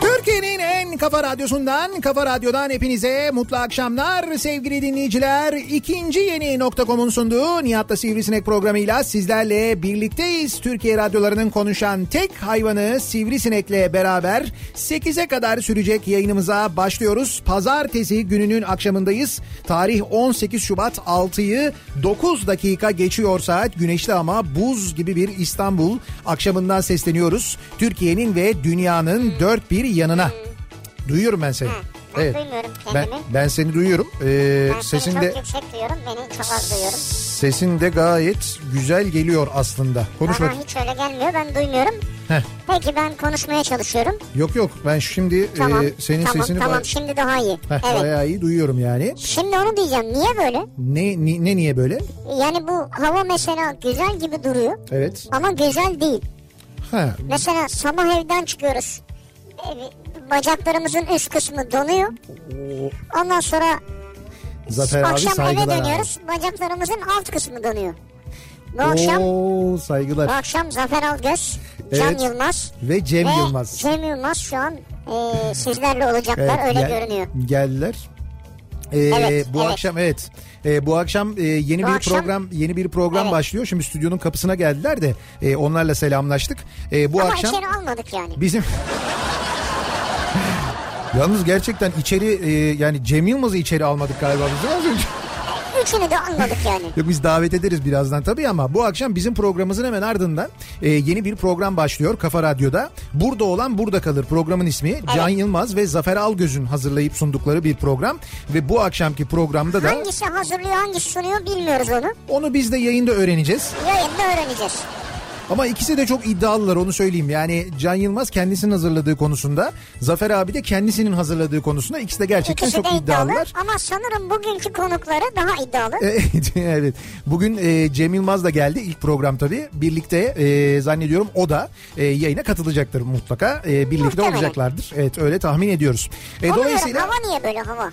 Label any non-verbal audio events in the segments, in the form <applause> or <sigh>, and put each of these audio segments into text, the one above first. Türkiye'nin en kafa radyosundan, kafa radyodan hepinize mutlu akşamlar sevgili dinleyiciler. İkinci yeni nokta.com'un sunduğu Nihat'la Sivrisinek programıyla sizlerle birlikteyiz. Türkiye radyolarının konuşan tek hayvanı Sivrisinek'le beraber 8'e kadar sürecek yayınımıza başlıyoruz. Pazartesi gününün akşamındayız. Tarih 18 Şubat 6'yı 9 dakika geçiyor saat. Güneşli ama buz gibi bir İstanbul akşamından sesleniyoruz. Türkiye'nin ve dünyanın dört bir yanına. Duyuyorum ben seni. Ha, ben duymuyorum Ben, kendimi. Ben, ben seni duyuyorum. Ee, seni sesin de çok yüksek duyuyorum, beni çok az duyuyorum. sesin de gayet güzel geliyor aslında. Konuş Bana bakayım. hiç öyle gelmiyor, ben duymuyorum. Heh. Peki ben konuşmaya çalışıyorum. Yok yok ben şimdi Tamam, e, senin tamam, sesini tamam. ba- Şimdi daha iyi. Heh, evet. bayağı iyi duyuyorum yani. Şimdi onu diyeceğim. Niye böyle? Ne, ni- ne niye böyle? Yani bu hava mesela güzel gibi duruyor Evet. ama güzel değil. Ha. Mesela sabah evden çıkıyoruz. Ee, Bacaklarımızın üst kısmı donuyor. Ondan sonra Zafer abi akşam eve saygılar. abi. dönüyoruz. Bacaklarımızın alt kısmı donuyor. Bu akşam Oo, saygılar. Bu akşam Zafer Algöz, Can Evet. Yılmaz Ve Cem ve Yılmaz. Cem Yılmaz şu an e, sizlerle olacaklar Evet, öyle gel- görünüyor. Geldiler. Ee, Evet, bu evet. akşam evet. Ee, bu akşam e, yeni Bu bir akşam- program yeni bir program Evet. başlıyor. Şimdi stüdyonun kapısına geldiler de e, onlarla selamlaştık. E, bu Ama akşam içeri almadık yani. bizim <laughs> Yalnız gerçekten içeri e, yani Cem Yılmaz'ı içeri almadık galiba biz az önce. Üçünü de almadık <laughs> yani. Yok biz davet ederiz birazdan tabii ama bu akşam bizim programımızın hemen ardından e, yeni bir program başlıyor Kafa Radyo'da. Burada olan burada kalır programın ismi Can Yılmaz ve Zafer Algöz'ün hazırlayıp sundukları bir program ve bu akşamki programda da Hangisi hazırlıyor hangisi sunuyor bilmiyoruz onu. onu biz de yayında öğreneceğiz. Yayında öğreneceğiz. Ama ikisi de çok iddialılar onu söyleyeyim. Yani Can Yılmaz kendisinin hazırladığı konusunda, Zafer abi de kendisinin hazırladığı konusunda ikisi de gerçekten İkisi çok de iddialı iddialılar. E, ama sanırım bugünkü konukları daha iddialı. Evet, <laughs> evet. Bugün e, Cem Yılmaz da geldi ilk program tabii. Birlikte e, zannediyorum o da e, yayına katılacaktır mutlaka. E, birlikte Muhtemelen. olacaklar. Evet öyle tahmin ediyoruz. E, Onu dolayısıyla diyorum, hava niye böyle hava?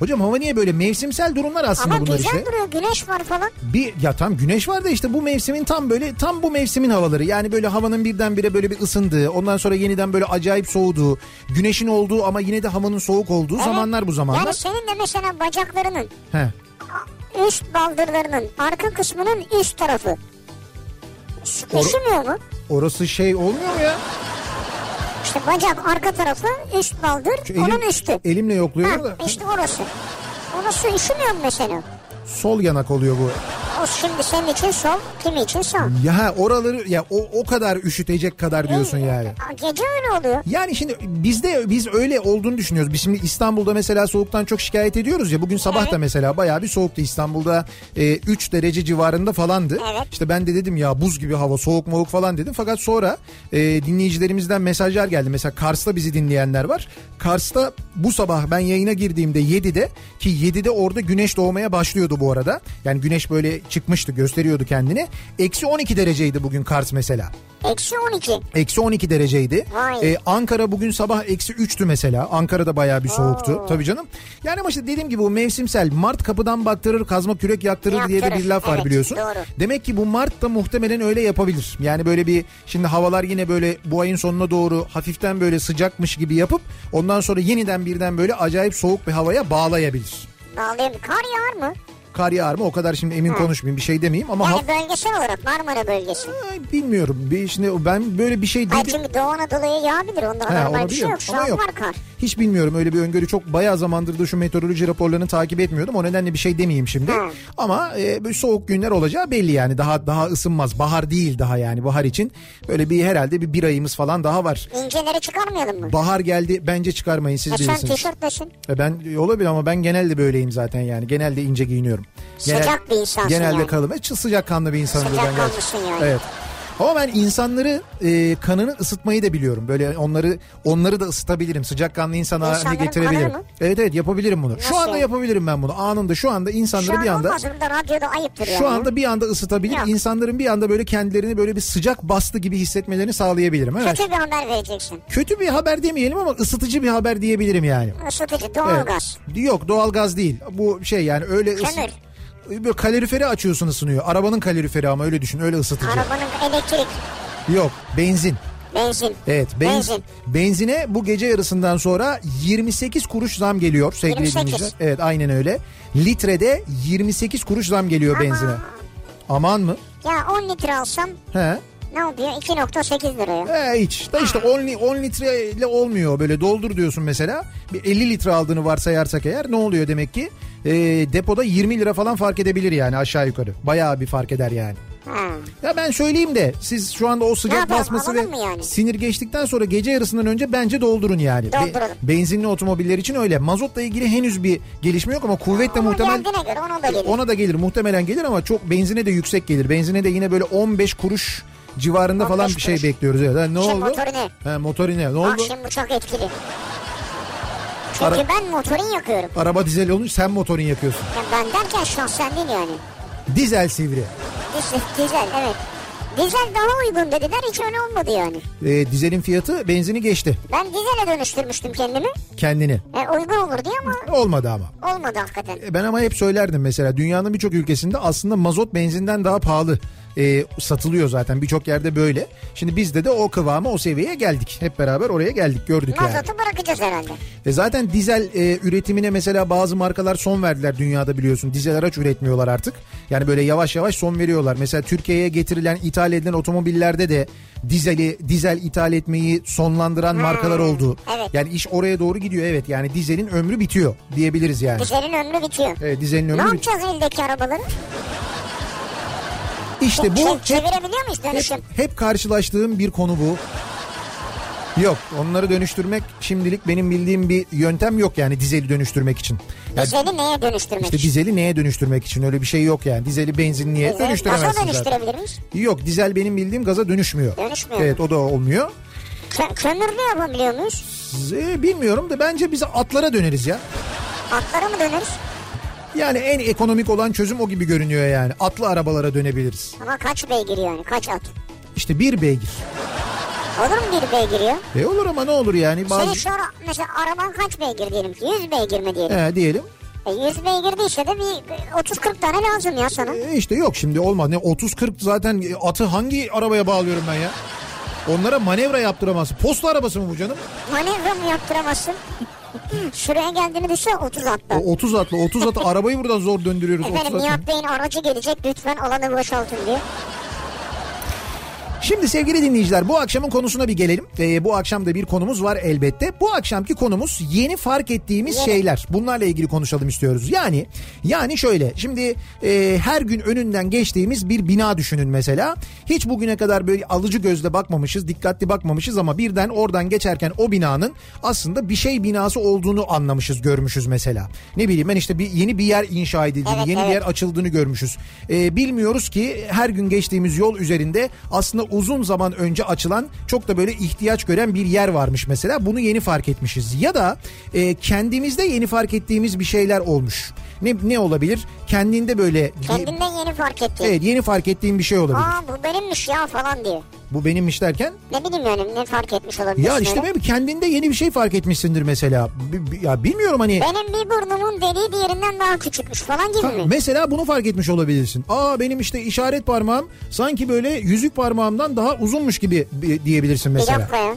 hocam hava niye böyle mevsimsel durumlar aslında Ama bunlar güzel işte. duruyor güneş var falan. Bir ya tam güneş var da işte bu mevsimin tam böyle tam bu mevsimin havaları. Yani böyle havanın birdenbire böyle bir ısındığı, ondan sonra yeniden böyle acayip soğuduğu, güneşin olduğu ama yine de havanın soğuk olduğu Evet. zamanlar bu zamanlar. Yani senin de mesela bacaklarının He. üst baldırlarının arka kısmının üst tarafı. Sıkışmıyor mu? Orası şey olmuyor mu ya? İşte bacak arka tarafı üst baldır Şu onun elim- üstü. Elimle yokluyorum Ha, da. işte orası. Orası üşümüyor mu mesela? sol yanak oluyor bu. O şimdi senin için sol, kimi için sol. Ya ha, oraları ya o o kadar üşütecek kadar diyorsun yani. Aa, Gece öyle oluyor. Yani şimdi bizde biz öyle olduğunu düşünüyoruz. Biz şimdi İstanbul'da mesela soğuktan çok şikayet ediyoruz ya. Bugün sabah da mesela bayağı bir soğuktu İstanbul'da 3 derece civarında falandı. Evet. İşte ben de dedim ya buz gibi hava soğuk moğuk falan dedim. Fakat sonra e, dinleyicilerimizden mesajlar geldi. Mesela Kars'ta bizi dinleyenler var. Kars'ta bu sabah ben yayına girdiğimde 7'de ki 7'de orada güneş doğmaya başlıyordu bu arada. Yani güneş böyle çıkmıştı gösteriyordu kendini. Eksi 12 dereceydi bugün Kars mesela. Eksi 12. Eksi 12 dereceydi. Vay. Ee, Ankara bugün sabah eksi 3'tü mesela. Ankara'da bayağı bir soğuktu. Oo. Tabii canım. Yani ama işte dediğim gibi bu mevsimsel. Mart kapıdan baktırır kazma kürek yaktırır, diye de Yaktırır. bir laf var Evet, biliyorsun. doğru. Demek ki bu Mart da muhtemelen öyle yapabilir. Yani böyle bir şimdi havalar yine böyle bu ayın sonuna doğru hafiften böyle sıcakmış gibi yapıp ondan sonra yeniden birden böyle acayip soğuk bir havaya bağlayabilir. Bağlayayım. Kar yağar mı? Kar yağar mı o kadar şimdi emin konuşmayayım bir şey demeyeyim ama Yani haf- bölgesel olarak Marmara bölgesi. Ay, bilmiyorum. Bir, şimdi ben böyle bir şey Hayır dedim. çünkü Doğu Anadolu'ya yağabilir. Onda Ha, normal bir olabilir. şey yok. Şu Ama an yok. var kar. Hiç bilmiyorum öyle bir öngörü çok bayağı zamandır da şu meteoroloji raporlarını takip etmiyordum. O nedenle bir şey demeyeyim şimdi. Ama e, böyle soğuk günler olacağı belli yani. Daha daha ısınmaz. Bahar değil daha yani bahar için. Böyle bir herhalde bir bir ayımız falan daha var. İnceleri çıkarmayalım mı? Bahar geldi bence çıkarmayın siz E sen bilirsiniz. tişörtlesin. E Ben e, olabilir ama ben genelde böyleyim zaten yani. Genelde ince giyiniyorum. Genel- Sıcak bir insansın Genelde yani. kalın. E, çı- sıcak kanlı bir insanım. Sıcak ben gerçi. kanlısın yani. Evet. Ama ben insanları e, kanını ısıtmayı da biliyorum. Böyle onları onları da ısıtabilirim. Sıcak kanlı insana haline İnsanların getirebilirim. kanını mı? Evet evet yapabilirim bunu. Nasıl Şu anda yani? yapabilirim ben bunu. Anında şu anda Şu insanları an bir anda olmaz burada radyoda ayıptır yani. şu anda bir anda ısıtabilir. Yok. insanların bir anda böyle kendilerini böyle bir sıcak bastı gibi hissetmelerini sağlayabilirim. Evet. Kötü bir haber vereceksin. Kötü bir haber demeyelim ama ısıtıcı bir haber diyebilirim yani. Isıtıcı doğalgaz. Yok doğalgaz değil. Bu şey yani öyle ısı- Kömür. Böyle kaloriferi açıyorsun ısınıyor. Arabanın kaloriferi ama öyle düşün. Öyle ısıtıcı. Arabanın elektrik, Yok benzin. benzin. Evet benz- Benzin. benzine bu gece yarısından sonra 28 kuruş zam geliyor sevgili 28. dinleyiciler. Evet aynen öyle. Litrede 28 kuruş zam geliyor benzine. Aman mı? Ya 10 litre alsam He. ne oluyor? 2.8 liraya. He hiç. Da işte 10, li- 10 litreyle olmuyor böyle doldur diyorsun mesela. Bir 50 litre aldığını varsayarsak eğer ne oluyor demek ki? Ee, depoda 20 lira falan fark edebilir yani aşağı yukarı. Bayağı bir fark eder yani. Ha. Ya ben söyleyeyim de siz şu anda o Ne sıcak yapalım, basması ve alalım mı yani? sinir geçtikten sonra gece yarısından önce bence doldurun yani. Dolduralım. benzinli otomobiller için öyle. Mazotla ilgili henüz bir gelişme yok ama kuvvetle Ama muhtemel geldiğine göre ona da gelir. ona da gelir muhtemelen gelir ama çok benzine de yüksek gelir. Benzine de yine böyle 15 kuruş civarında falan 15 bir şey kuruş. bekliyoruz. Evet. Ha, ne Şey, oldu? motorine. He, motorine. Ne oldu? Bak Ah, şimdi bu çok etkili. Çünkü Ara- ben motorin yakıyorum. Araba dizel olmuş sen motorin yakıyorsun. Ya ben derken şahsen değil yani. Dizel sivri. Dizel, dizel evet. Dizel daha uygun dediler hiç öyle olmadı yani. Ee, dizelin fiyatı benzini geçti Ben dizele dönüştürmüştüm kendimi. kendini. E, uygun olur diye ama Olmadı ama. olmadı hakikaten. E, Ben ama hep söylerdim mesela dünyanın birçok ülkesinde aslında mazot benzinden daha pahalı e, satılıyor zaten birçok yerde böyle. Şimdi bizde de o kıvama o seviyeye geldik. Hep beraber oraya geldik gördük yani. Mazotu bırakacağız herhalde. E zaten dizel e, üretimine mesela bazı markalar son verdiler dünyada biliyorsun. Dizel araç üretmiyorlar artık. Yani böyle yavaş yavaş son veriyorlar. Mesela Türkiye'ye getirilen ithal edilen otomobillerde de dizeli dizel ithal etmeyi sonlandıran markalar oldu. evet. Yani iş oraya doğru gidiyor evet. Yani dizelin ömrü bitiyor diyebiliriz yani. Dizelin ömrü bitiyor. Evet, dizelin Ne E, ömrü bitiyor. yapacağız eldeki arabaları? İşte bu E, Çe- hep, çevirebiliyor muyuz dönüşüm? hep, hep karşılaştığım bir konu bu. Yok onları dönüştürmek şimdilik benim bildiğim bir yöntem yok yani dizeli dönüştürmek için. Yani Dizeli neye dönüştürmek? işte dizeli neye dönüştürmek için öyle bir şey yok yani. Dizeli benzinliğe Dizel dönüştüremezsin gaza zaten. dönüştürebilir miyiz? Yok dizel benim bildiğim gaza dönüşmüyor. Dönüşmüyor. Evet o da olmuyor. Kö- kömürlü yapabiliyor muyuz? Z- bilmiyorum da bence biz atlara döneriz ya. Atlara mı döneriz? Yani en ekonomik olan çözüm o gibi görünüyor yani. Atlı arabalara dönebiliriz. Ama kaç beygir yani? Kaç at? İşte bir beygir. Olur mu bir beygir ya? E olur ama ne olur yani. Senin Bazı... şu ara- mesela araban kaç beygir diyelim ki? 100 beygir mi diyelim? He, diyelim E, 100 beygir değilse de bir 30-40 tane lazım ya sana. E işte yok şimdi olmaz. Ne 30-40 zaten atı hangi arabaya bağlıyorum ben ya? Onlara manevra yaptıramazsın. Posta arabası mı bu canım? Manevra <laughs> mı yaptıramazsın? Şuraya geldiğini düşün 30 atla. O 30 atlı 30 atlı arabayı buradan zor döndürüyoruz. 30 Efendim atla. Nihat Bey'in aracı gelecek lütfen alanı boşaltın diyor. Ee, Şimdi sevgili dinleyiciler bu akşamın konusuna bir gelelim. Ee, bu akşam da bir konumuz var elbette. Bu akşamki konumuz yeni fark ettiğimiz Yeni. şeyler. Bunlarla ilgili konuşalım istiyoruz. Yani yani şöyle şimdi e, her gün önünden geçtiğimiz bir bina düşünün mesela. Hiç bugüne kadar böyle alıcı gözle bakmamışız, dikkatli bakmamışız ama birden oradan geçerken o binanın aslında bir şey binası olduğunu anlamışız, görmüşüz mesela. Ne bileyim ben işte bir yeni bir yer inşa edildiğini, Evet, yeni bir evet. yer yer açıldığını görmüşüz. Ee, bilmiyoruz ki her gün geçtiğimiz yol üzerinde aslında uzun zaman önce açılan çok da böyle ihtiyaç gören bir yer varmış mesela. Bunu yeni fark etmişiz. Ya da e, kendimizde yeni fark ettiğimiz bir şeyler olmuş. Ne ne olabilir? Kendinde böyle Kendinden yeni fark etti. Evet, yeni fark ettiğim bir şey olabilir. Aa bu benimmiş ya falan diyor. Bu benimmiş derken Ne bileyim yani ne fark etmiş olabilir. ya işte benim kendinde yeni bir şey fark etmişsindir mesela. Bi- bi- Ya bilmiyorum hani Benim bir burnumun deliği diğerinden daha küçükmüş falan gibi mi? Mesela bunu fark etmiş olabilirsin. Aa benim işte işaret parmağım sanki böyle yüzük parmağımdan daha uzunmuş gibi bi- diyebilirsin Bir mesela. dakika ya.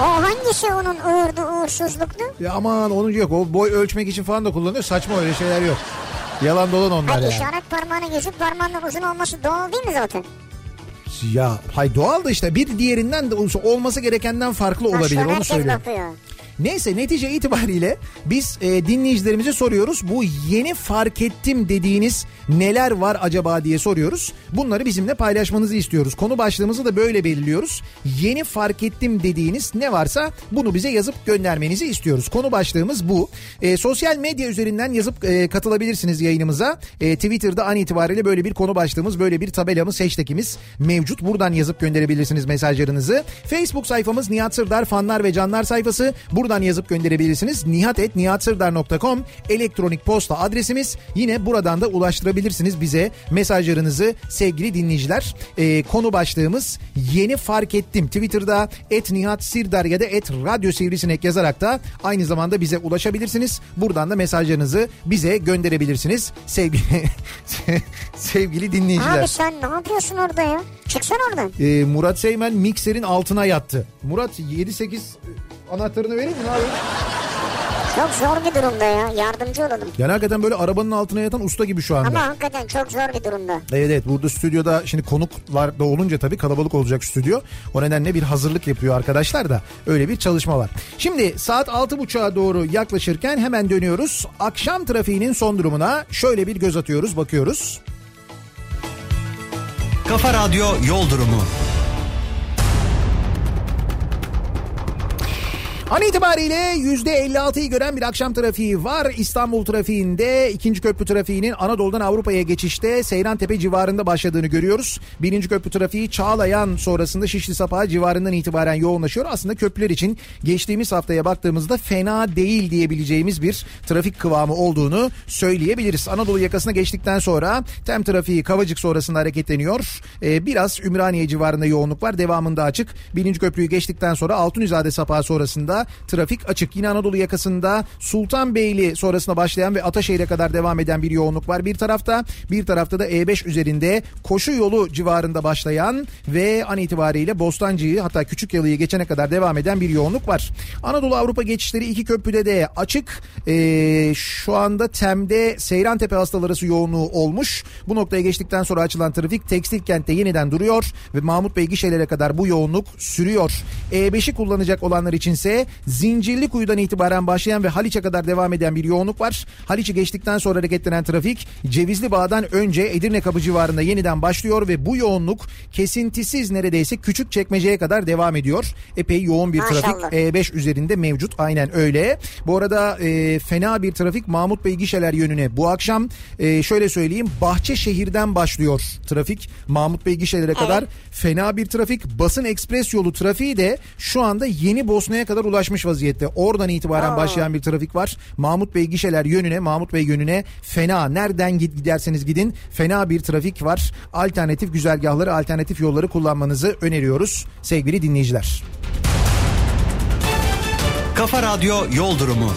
O hangisi onun uğurdu uğursuzluktu? Ya aman onun yok o boy ölçmek için falan da kullanıyor. Saçma öyle şeyler yok. Yalan dolan onlar Hayır yani. işaret parmağının yüzük parmağının uzun olması doğal değil mi zaten? Ya hay doğal da işte bir diğerinden de olsa olması gerekenden farklı olabilir Başka onu herkes söylüyorum. bakıyor. Neyse netice itibariyle biz e, dinleyicilerimize soruyoruz. Bu yeni fark ettim dediğiniz neler var acaba diye soruyoruz. Bunları bizimle paylaşmanızı istiyoruz. Konu başlığımızı da böyle belirliyoruz. Yeni fark ettim dediğiniz ne varsa bunu bize yazıp göndermenizi istiyoruz. Konu başlığımız bu. E, sosyal medya üzerinden yazıp e, katılabilirsiniz yayınımıza. E, Twitter'da an itibariyle böyle bir konu başlığımız, böyle bir tabelamız, hashtagimiz mevcut. Buradan yazıp gönderebilirsiniz mesajlarınızı. Facebook sayfamız Nihat Sırdar fanlar ve canlar sayfası. Buradan yazıp gönderebilirsiniz. nihat.nihatsırdar.com elektronik posta adresimiz. Yine buradan da ulaştırabilirsiniz bize mesajlarınızı sevgili dinleyiciler. E, konu başlığımız yeni fark ettim. Twitter'da et Nihat Sirdar ya da et Radyo Sivrisinek yazarak da aynı zamanda bize ulaşabilirsiniz. Buradan da mesajlarınızı bize gönderebilirsiniz. Sevgili <laughs> sevgili dinleyiciler. Abi sen ne yapıyorsun orada ya? Çıksana oradan. Ee, Murat Seymen mikserin altına yattı. Murat 7-8 anahtarını vereyim mi? Ne yapayım? Çok zor bir durumda ya. Yardımcı olalım. Yani hakikaten böyle arabanın altına yatan usta gibi şu anda. Ama hakikaten çok zor bir durumda. Evet evet burada stüdyoda şimdi konuklar da olunca tabii kalabalık olacak stüdyo. O nedenle bir hazırlık yapıyor arkadaşlar da öyle bir çalışma var. Şimdi saat 6.30'a doğru yaklaşırken hemen dönüyoruz. Akşam trafiğinin son durumuna şöyle bir göz atıyoruz bakıyoruz. Kafa Radyo Yol Durumu. An itibariyle %56'yı gören bir akşam trafiği var. İstanbul trafiğinde ikinci köprü trafiğinin Anadolu'dan Avrupa'ya geçişte Seyran Tepe civarında başladığını görüyoruz. Birinci köprü trafiği Çağlayan sonrasında Şişli Sapağı civarından itibaren yoğunlaşıyor. Aslında köprüler için geçtiğimiz haftaya baktığımızda fena değil diyebileceğimiz bir trafik kıvamı olduğunu söyleyebiliriz. Anadolu yakasına geçtikten sonra tem trafiği Kavacık sonrasında hareketleniyor. Ee, biraz Ümraniye civarında yoğunluk var. Devamında açık. Birinci köprüyü geçtikten sonra Altunizade Sapağı sonrasında trafik açık. Yine Anadolu yakasında Sultanbeyli sonrasında başlayan ve Ataşehir'e kadar devam eden bir yoğunluk var. Bir tarafta bir tarafta da E5 üzerinde koşu yolu civarında başlayan ve an itibariyle Bostancı'yı hatta Küçükyalı'yı geçene kadar devam eden bir yoğunluk var. Anadolu Avrupa geçişleri iki köprüde de açık. Ee, şu anda Tem'de Seyran Tepe hastalarası yoğunluğu olmuş. Bu noktaya geçtikten sonra açılan trafik tekstil kentte yeniden duruyor ve Mahmut Bey gişelere kadar bu yoğunluk sürüyor. E5'i kullanacak olanlar içinse Zincirlikuyu'dan itibaren başlayan ve Haliç'e kadar devam eden bir yoğunluk var. Haliç'i geçtikten sonra hareketlenen trafik Cevizli Bağ'dan önce Edirne Kapı civarında yeniden başlıyor ve bu yoğunluk kesintisiz neredeyse küçük çekmeceye kadar devam ediyor. Epey yoğun bir Maşallah. trafik E5 E üzerinde mevcut aynen öyle. Bu arada e, fena bir trafik Mahmut Bey gişeler yönüne bu akşam e, şöyle söyleyeyim Bahçeşehir'den başlıyor trafik Mahmut Bey gişelere kadar fena bir trafik basın ekspres yolu trafiği de şu anda Yeni Bosna'ya kadar ulaşmış vaziyette. Oradan itibaren Aa. başlayan bir trafik var. Mahmut Bey gişeler yönüne Mahmut Bey yönüne fena nereden git giderseniz gidin fena bir trafik var. Alternatif güzergahları alternatif yolları kullanmanızı öneriyoruz sevgili dinleyiciler. Kafa Radyo Yol Durumu.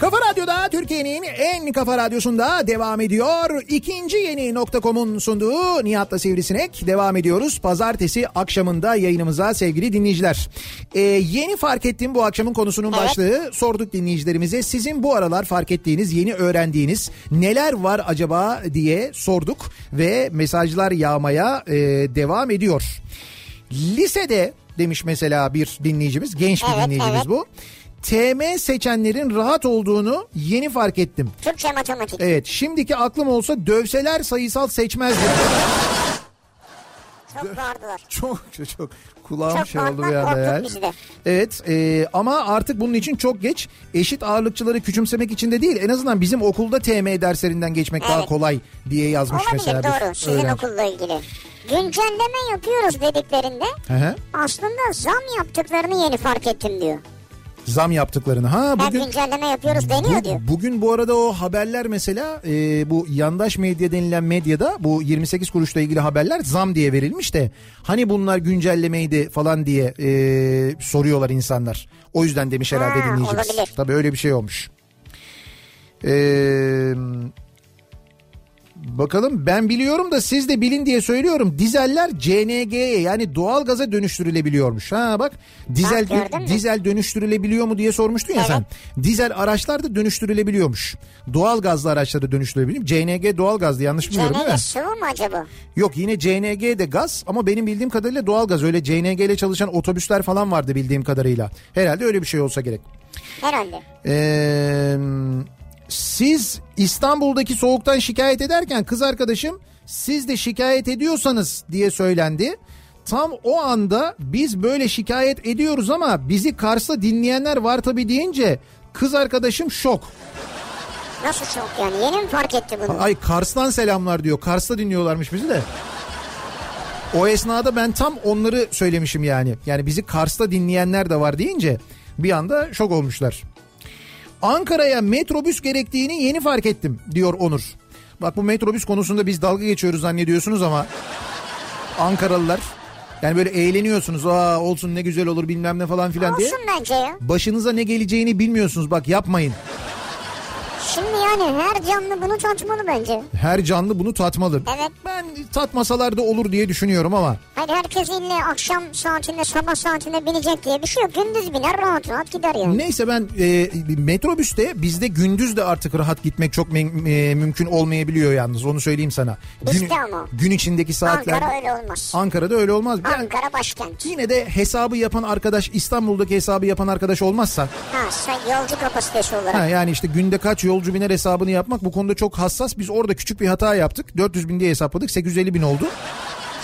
Kafa Radyo'da Türkiye'nin en kafa radyosunda devam ediyor. İkinci yeni nokta.com'un sunduğu Nihat'la Sivrisinek devam ediyoruz. Pazartesi akşamında yayınımıza sevgili dinleyiciler. Ee, yeni fark ettim bu akşamın konusunun Evet. başlığı. Sorduk dinleyicilerimize sizin bu aralar fark ettiğiniz, yeni öğrendiğiniz neler var acaba diye sorduk. Ve mesajlar yağmaya e, devam ediyor. Lisede demiş mesela bir dinleyicimiz, genç bir Evet, dinleyicimiz evet. bu. TM seçenlerin rahat olduğunu yeni fark ettim. Türkçe matematik. Evet şimdiki aklım olsa dövseler sayısal seçmezdim. Çok bağırdılar. <laughs> çok çok kulağım Çok şey oldu bir korkma- anda ya. korktuk biz de. Evet e, ama artık bunun için çok geç. Eşit ağırlıkçıları küçümsemek için de değil. En azından bizim okulda TM derslerinden geçmek daha Evet. kolay diye yazmış Olabilir mesela. bir doğru sizin öğrenci. okulla ilgili. Güncelleme yapıyoruz dediklerinde Hı hı. aslında zam yaptıklarını yeni fark ettim diyor. Zam yaptıklarını. Ha Her bugün güncelleme yapıyoruz deniyor diyor. bu- Bugün bu arada o haberler mesela e, bu yandaş medya denilen medyada bu 28 kuruşla ilgili haberler zam diye verilmiş de hani bunlar güncellemeydi falan diye e, soruyorlar insanlar. O yüzden demiş herhalde Ha, dinleyicimiz. olabilir. Tabii öyle bir şey olmuş. E, Eee Bakalım ben biliyorum da siz de bilin diye söylüyorum. Dizeller CNG'ye yani doğalgaza dönüştürülebiliyormuş. Ha bak dizel Bak gördün mü? dizel dönüştürülebiliyor mu diye sormuştun ya sen. Dizel araçlar da dönüştürülebiliyormuş. Doğalgazlı araçları dönüştürülebiliyor. CNG doğalgazdı yanlış bilmiyorum değil CNG mi? sıvı mı acaba? Yok yine CNG de gaz ama benim bildiğim kadarıyla doğalgaz. Öyle CNG ile çalışan otobüsler falan vardı bildiğim kadarıyla. Herhalde öyle bir şey olsa gerek. Herhalde. Ee, siz İstanbul'daki soğuktan şikayet ederken kız arkadaşım siz de şikayet ediyorsanız diye söylendi. Tam o anda biz böyle şikayet ediyoruz ama bizi Kars'ta dinleyenler var tabii deyince kız arkadaşım şok. Nasıl soğuk yani? Yeni mi fark etti bunu? Ay Kars'tan selamlar diyor. Kars'ta dinliyorlarmış bizi de. O esnada ben tam onları söylemişim yani. Yani bizi Kars'ta dinleyenler de var deyince bir anda şok olmuşlar. Ankara'ya metrobüs gerektiğini yeni fark ettim diyor Onur. Bak bu metrobüs konusunda biz dalga geçiyoruz zannediyorsunuz ama Ankaralılar yani böyle eğleniyorsunuz. Aa olsun ne güzel olur bilmem ne falan filan diye. Olsun bence ya. Başınıza ne geleceğini bilmiyorsunuz bak yapmayın. Şimdi yani her canlı bunu tatmalı bence. Her canlı bunu tatmalı. Evet. Ben tatmasalar da olur diye düşünüyorum ama. Hani herkes ille akşam saatinde sabah saatinde binecek diye bir şey yok. Gündüz biner rahat rahat gider yani. Neyse ben e, metrobüste bizde gündüz de artık rahat gitmek çok mü- e, mümkün olmayabiliyor yalnız onu söyleyeyim sana. Bizde ama. Gün içindeki saatler. Ankara öyle olmaz. Ankara'da öyle olmaz. Yani Ankara başkent. yine de hesabı yapan arkadaş İstanbul'daki hesabı yapan arkadaş olmazsa Ha sen yolcu kapasitesi olarak. ha, yani işte günde kaç yolcu biner hesabını yapmak bu konuda çok hassas. Biz orada küçük bir hata yaptık. 400 bin diye hesapladık 850 bin oldu.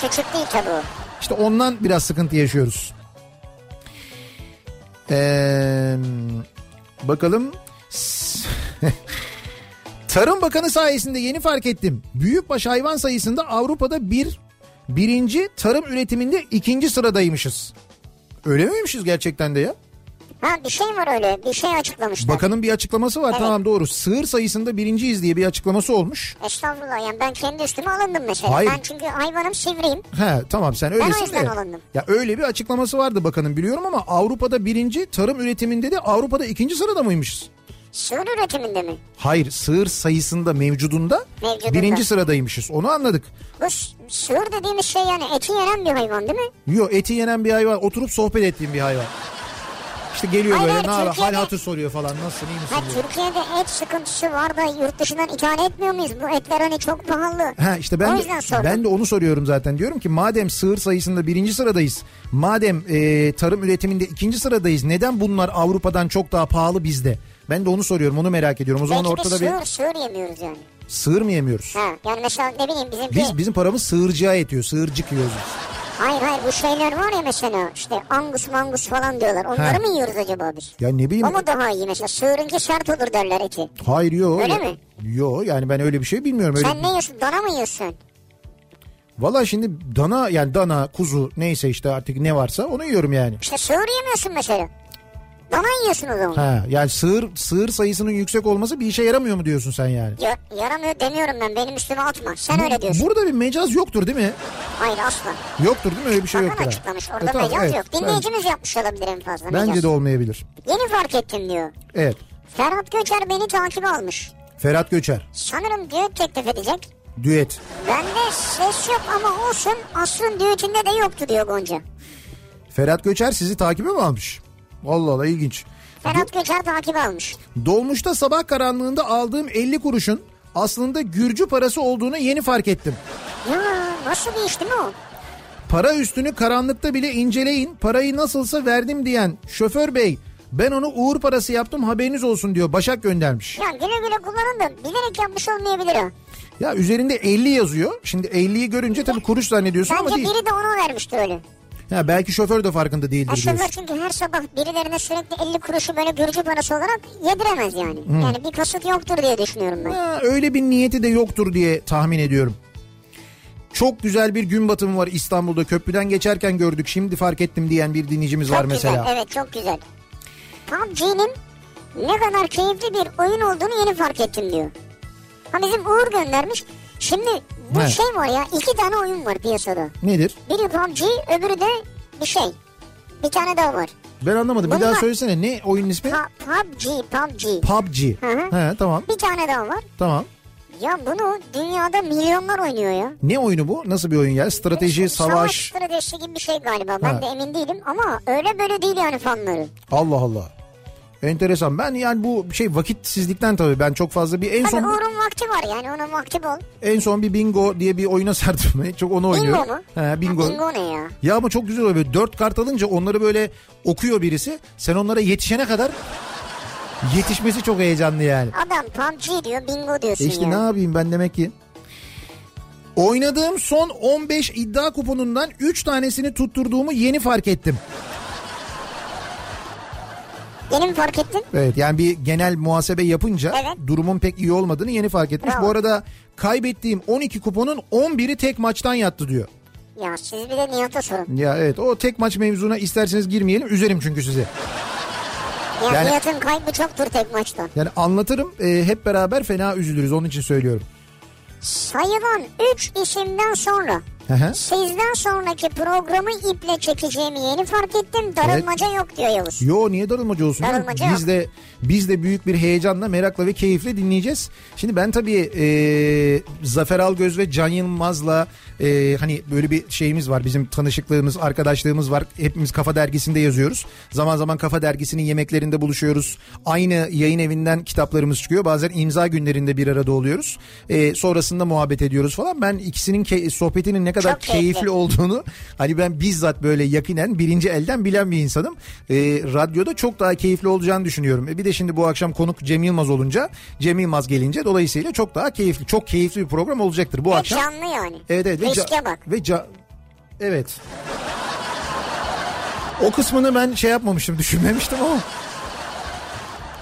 Küçük değil tabi o. İşte ondan biraz sıkıntı yaşıyoruz. Ee, bakalım. <laughs> Tarım Bakanı sayesinde yeni fark ettim. Büyükbaş hayvan sayısında Avrupa'da bir, birinci tarım üretiminde ikinci sıradaymışız. Öyle miymişiz gerçekten de ya? Ha bir şey var öyle bir şey açıklamışlar. Bakanın bir açıklaması var Evet. tamam doğru. Sığır sayısında birinciyiz diye bir açıklaması olmuş. Estağfurullah yani ben kendi üstüme alındım mesela. Hayır. Ben çünkü hayvanım sivriyim. He tamam sen öylesin o yüzden de. alındım. Ya öyle bir açıklaması vardı bakanın biliyorum ama Avrupa'da birinci tarım üretiminde de Avrupa'da ikinci sırada mıymışız? Sığır üretiminde mi? Hayır sığır sayısında mevcudunda, Mevcudunda. birinci sıradaymışız onu anladık. Bu s- sığır dediğimiz şey yani eti yenen bir hayvan değil mi? Yo eti yenen bir hayvan oturup sohbet ettiğim bir hayvan. İşte geliyor Hayır, böyle hayır, ne haber hal Türkiye'de- hatır soruyor falan nasılsın iyi misin Ha, diyor. Türkiye'de et sıkıntısı var da yurt dışından ithal etmiyor muyuz? Bu etler hani çok pahalı. Ha işte ben O de, yüzden sordum. ben de onu soruyorum zaten. Diyorum ki madem sığır sayısında birinci sıradayız. Madem e, tarım üretiminde ikinci sıradayız. Neden bunlar Avrupa'dan çok daha pahalı bizde? Ben de onu soruyorum. Onu merak ediyorum. O zaman Belki ortada de bir sığır sığır yemiyoruz yani. sığır mı yemiyoruz? Ha, yani mesela ne bileyim bizimki... Biz bizim paramız sığırcıya yetiyor. Sığırcık yiyoruz. biz. Hayır hayır bu şeyler var ya mesela işte angus mangus falan diyorlar. Onları Ha. mı yiyoruz acaba biz? Ya ne bileyim. O mu daha iyi mesela? Sığırınki sert olur derler eti. Hayır yok. Öyle mi? Yok yani ben öyle bir şey bilmiyorum. Öyle... Sen ne yiyorsun? Dana mı yiyorsun? Valla şimdi dana yani dana, kuzu neyse işte artık ne varsa onu yiyorum yani. İşte sığır yemiyorsun mesela. Dana yiyorsun o zaman. Ha yani sığır sığır sayısının yüksek olması bir işe yaramıyor mu diyorsun sen yani? Ya- yaramıyor demiyorum ben. Benim üstüme atma. Sen öyle diyorsun. Burada bir mecaz yoktur değil mi? Hayır asla. Yoktur değil mi? Öyle bir şey Bakan yoktur. ha. açıklamış. Orada E, tamam, mecaz evet. yok. Dinleyicimiz yapmış olabilir en fazla. Bence, bence mecaz. de olmayabilir. Yeni fark ettim diyor. Evet. Ferhat Göçer beni takibe almış. Ferhat Göçer. Sanırım düet teklif edecek. Düet. Bende ses yok ama olsun Aslı'nın düetinde de yoktu diyor Gonca. Ferhat Göçer sizi takibe mi almış? Allah Allah ilginç. Ferhat Göçer takibe almış. Dolmuşta sabah karanlığında aldığım 50 kuruşun aslında Gürcü parası olduğunu yeni fark ettim. Ya nasıl bir iş değil mi o? Para üstünü karanlıkta bile inceleyin. Parayı nasılsa verdim diyen şoför bey ben onu uğur parası yaptım haberiniz olsun diyor. Başak göndermiş. Ya güle güle kullanın da bilerek yapmış olmayabilir o. Ya üzerinde 50 yazıyor. Şimdi 50'yi görünce tabii kuruş zannediyorsun ama Bence değil. biri de ona vermişti öyle. Ya belki şoför de farkında değildir Aslında diyorsun. çünkü her sabah birilerine sürekli 50 kuruşu böyle Gürcü parası olarak yediremez yani. Yani bir kasıt yoktur diye düşünüyorum ben. Ha, öyle bir niyeti de yoktur diye tahmin ediyorum. Çok güzel bir gün batımı var İstanbul'da. Köprüden geçerken gördük. Şimdi fark ettim diyen bir dinleyicimiz var çok mesela. güzel evet çok güzel. PUBG'nin ne kadar keyifli bir oyun olduğunu yeni fark ettim diyor. Ha bizim Uğur göndermiş. Şimdi bu Evet. şey var ya iki tane oyun var piyasada. Nedir? Biri PUBG öbürü de bir şey. Bir tane daha var. Ben anlamadım. Bir daha Bunlar- söylesene. Ne oyunun ismi? Pa- PUBG, PUBG. PUBG. Hı hı. He, tamam Bir tane daha var. tamam. Ya bunu dünyada milyonlar oynuyor ya. Ne oyunu bu? Nasıl bir oyun ya? Strateji, savaş. stratejisi gibi bir şey galiba. Ben Ha. de emin değilim ama öyle böyle değil yani fanları. Allah Allah. Enteresan. Ben yani bu şey vakitsizlikten tabii ben çok fazla bir en Tabii son Uğur'un vakti var yani onun vakti bol. en son bir bingo diye bir oyuna <laughs> sardım. Çok onu oynuyorum. Bingo mu? He, bingo. Ha, bingo ne ya? Ya ama çok güzel oluyor. Böyle dört kart alınca onları böyle okuyor birisi. Sen onlara yetişene kadar yetişmesi çok heyecanlı yani. Adam PUBG diyor bingo diyorsun E işte ya. ne yapayım ben demek ki. Oynadığım son 15 iddia kuponundan 3 tanesini tutturduğumu yeni fark ettim. Yeni mi fark ettin? Evet yani bir genel muhasebe yapınca Evet. durumun pek iyi olmadığını yeni fark etmiş. Bravo. Bu arada kaybettiğim 12 kuponun 11'i tek maçtan yattı diyor. Ya siz bir de Nihat'a sorun. Ya evet o tek maç mevzuna isterseniz girmeyelim üzerim çünkü size. Ya Yani- Nihat'ın kaybı çoktur tek maçtan. Yani anlatırım e, hep beraber fena üzülürüz onun için söylüyorum. Sayılan 3 isimden sonra Hı hı. sizden sonraki programı iple çekeceğimi yeni fark ettim. Darılmaca yok diyor Yavuz. Yo niye darılmacı olsun? canım? Darılmacı yok. Biz de biz de büyük bir heyecanla, merakla ve keyifle dinleyeceğiz. Şimdi ben tabii e, Zafer Algöz ve Can Yılmaz'la e, hani böyle bir şeyimiz var. Bizim tanışıklığımız, arkadaşlığımız var. Hepimiz Kafa Dergisi'nde yazıyoruz. Zaman zaman Kafa Dergisi'nin yemeklerinde buluşuyoruz. Aynı yayın evinden kitaplarımız çıkıyor. Bazen imza günlerinde bir arada oluyoruz. E, sonrasında muhabbet ediyoruz falan. Ben ikisinin key- sohbetinin ne kadar Çok keyifli keyifli. keyifli olduğunu hani ben bizzat böyle yakinen birinci elden bilen bir insanım. Ee, radyoda çok daha keyifli olacağını düşünüyorum. E bir de şimdi bu akşam konuk Cem Yılmaz olunca Cem Yılmaz gelince dolayısıyla çok daha keyifli çok keyifli bir program olacaktır bu Ve akşam. canlı yani. Evet evet. Ve Riske ca- bak. Ve ca- evet. O kısmını ben şey yapmamıştım düşünmemiştim ama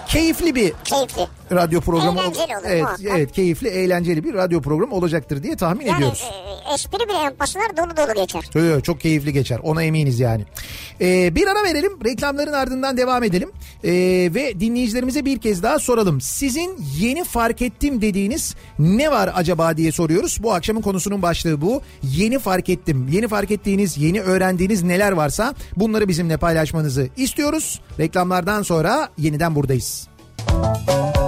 keyifli bir Keyifli. radyo programı Eğlenceli olur evet, muhakkak. evet keyifli eğlenceli bir radyo programı olacaktır diye tahmin Yani ediyoruz. e, espri bile yapmasalar dolu dolu geçer. Yo, yo, çok keyifli geçer. Ona eminiz yani. Ee, bir ara verelim. Reklamların ardından devam edelim. Ee, ve dinleyicilerimize bir kez daha soralım. Sizin yeni fark ettim dediğiniz ne var acaba diye soruyoruz. Bu akşamın konusunun başlığı bu. Yeni fark ettim. Yeni fark ettiğiniz, yeni öğrendiğiniz neler varsa bunları bizimle paylaşmanızı istiyoruz. Reklamlardan sonra yeniden buradayız.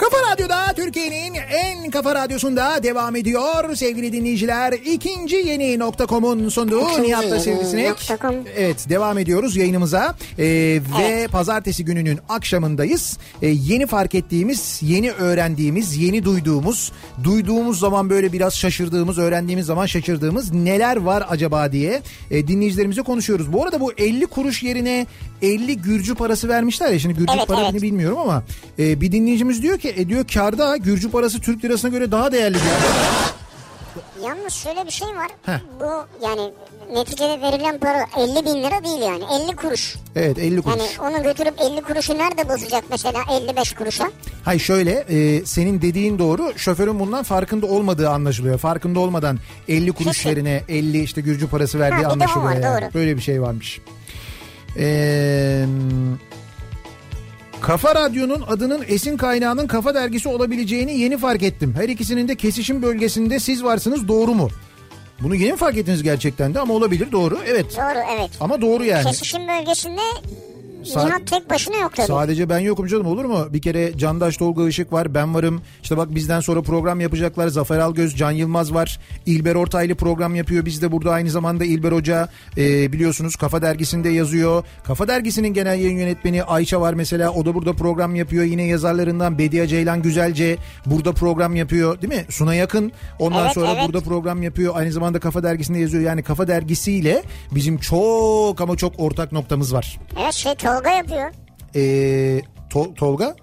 Kafa Radyo'da Türkiye'nin en kafa radyosunda devam ediyor sevgili dinleyiciler. İkinci yeni nokta.com'un sunduğu İkinci Nihat'la yeni Sivrisinek. nokta com. Evet devam ediyoruz yayınımıza Ee, ve pazartesi gününün akşamındayız. Ee, yeni fark ettiğimiz, yeni öğrendiğimiz, yeni duyduğumuz, duyduğumuz zaman böyle biraz şaşırdığımız, öğrendiğimiz zaman şaşırdığımız neler var acaba diye e, dinleyicilerimize konuşuyoruz. Bu arada bu 50 kuruş yerine 50 Gürcü parası vermişler ya şimdi Gürcü Evet, para evet. ne bilmiyorum ama e, bir dinleyicimiz diyor ki e, diyor karda Gürcü parası Türk lirasına göre daha değerli diyor. Yalnız şöyle bir şey var. Heh. Bu yani neticede verilen para 50 bin lira değil yani 50 kuruş. Evet 50 kuruş. Yani onu götürüp 50 kuruşu nerede bozacak mesela 55 kuruşa? Hayır şöyle e, senin dediğin doğru şoförün bundan farkında olmadığı anlaşılıyor. Farkında olmadan 50 kuruş Kesin. yerine 50 işte Gürcü parası verdiği bir de o anlaşılıyor. var, yani. doğru. Böyle bir şey varmış. Eee... Kafa Radyo'nun adının esin kaynağının Kafa Dergisi olabileceğini yeni fark ettim. Her ikisinin de kesişim bölgesinde siz varsınız doğru mu? Bunu yeni mi fark ettiniz gerçekten de ama olabilir doğru evet. Doğru evet. Ama doğru yani. Kesişim bölgesinde Sa- Nihat tek başına yok tabii. Sadece ben yokum canım olur mu? Bir kere Candaş Tolga Işık var ben varım. İşte bak bizden sonra program yapacaklar. Zafer Algöz, Can Yılmaz var. İlber Ortaylı program yapıyor. Biz de burada aynı zamanda İlber Hoca e, biliyorsunuz Kafa Dergisi'nde yazıyor. Kafa Dergisi'nin genel yayın yönetmeni Ayça var mesela. O da burada program yapıyor. Yine yazarlarından Bediye Ceylan Güzelce burada program yapıyor değil mi? Suna Yakın ondan Evet, sonra evet. burada program yapıyor. Aynı zamanda Kafa Dergisi'nde yazıyor. Yani Kafa Dergisi'yle bizim çok ama çok ortak noktamız var. Evet şey Tolga yapıyor. E, Tol- Tolga?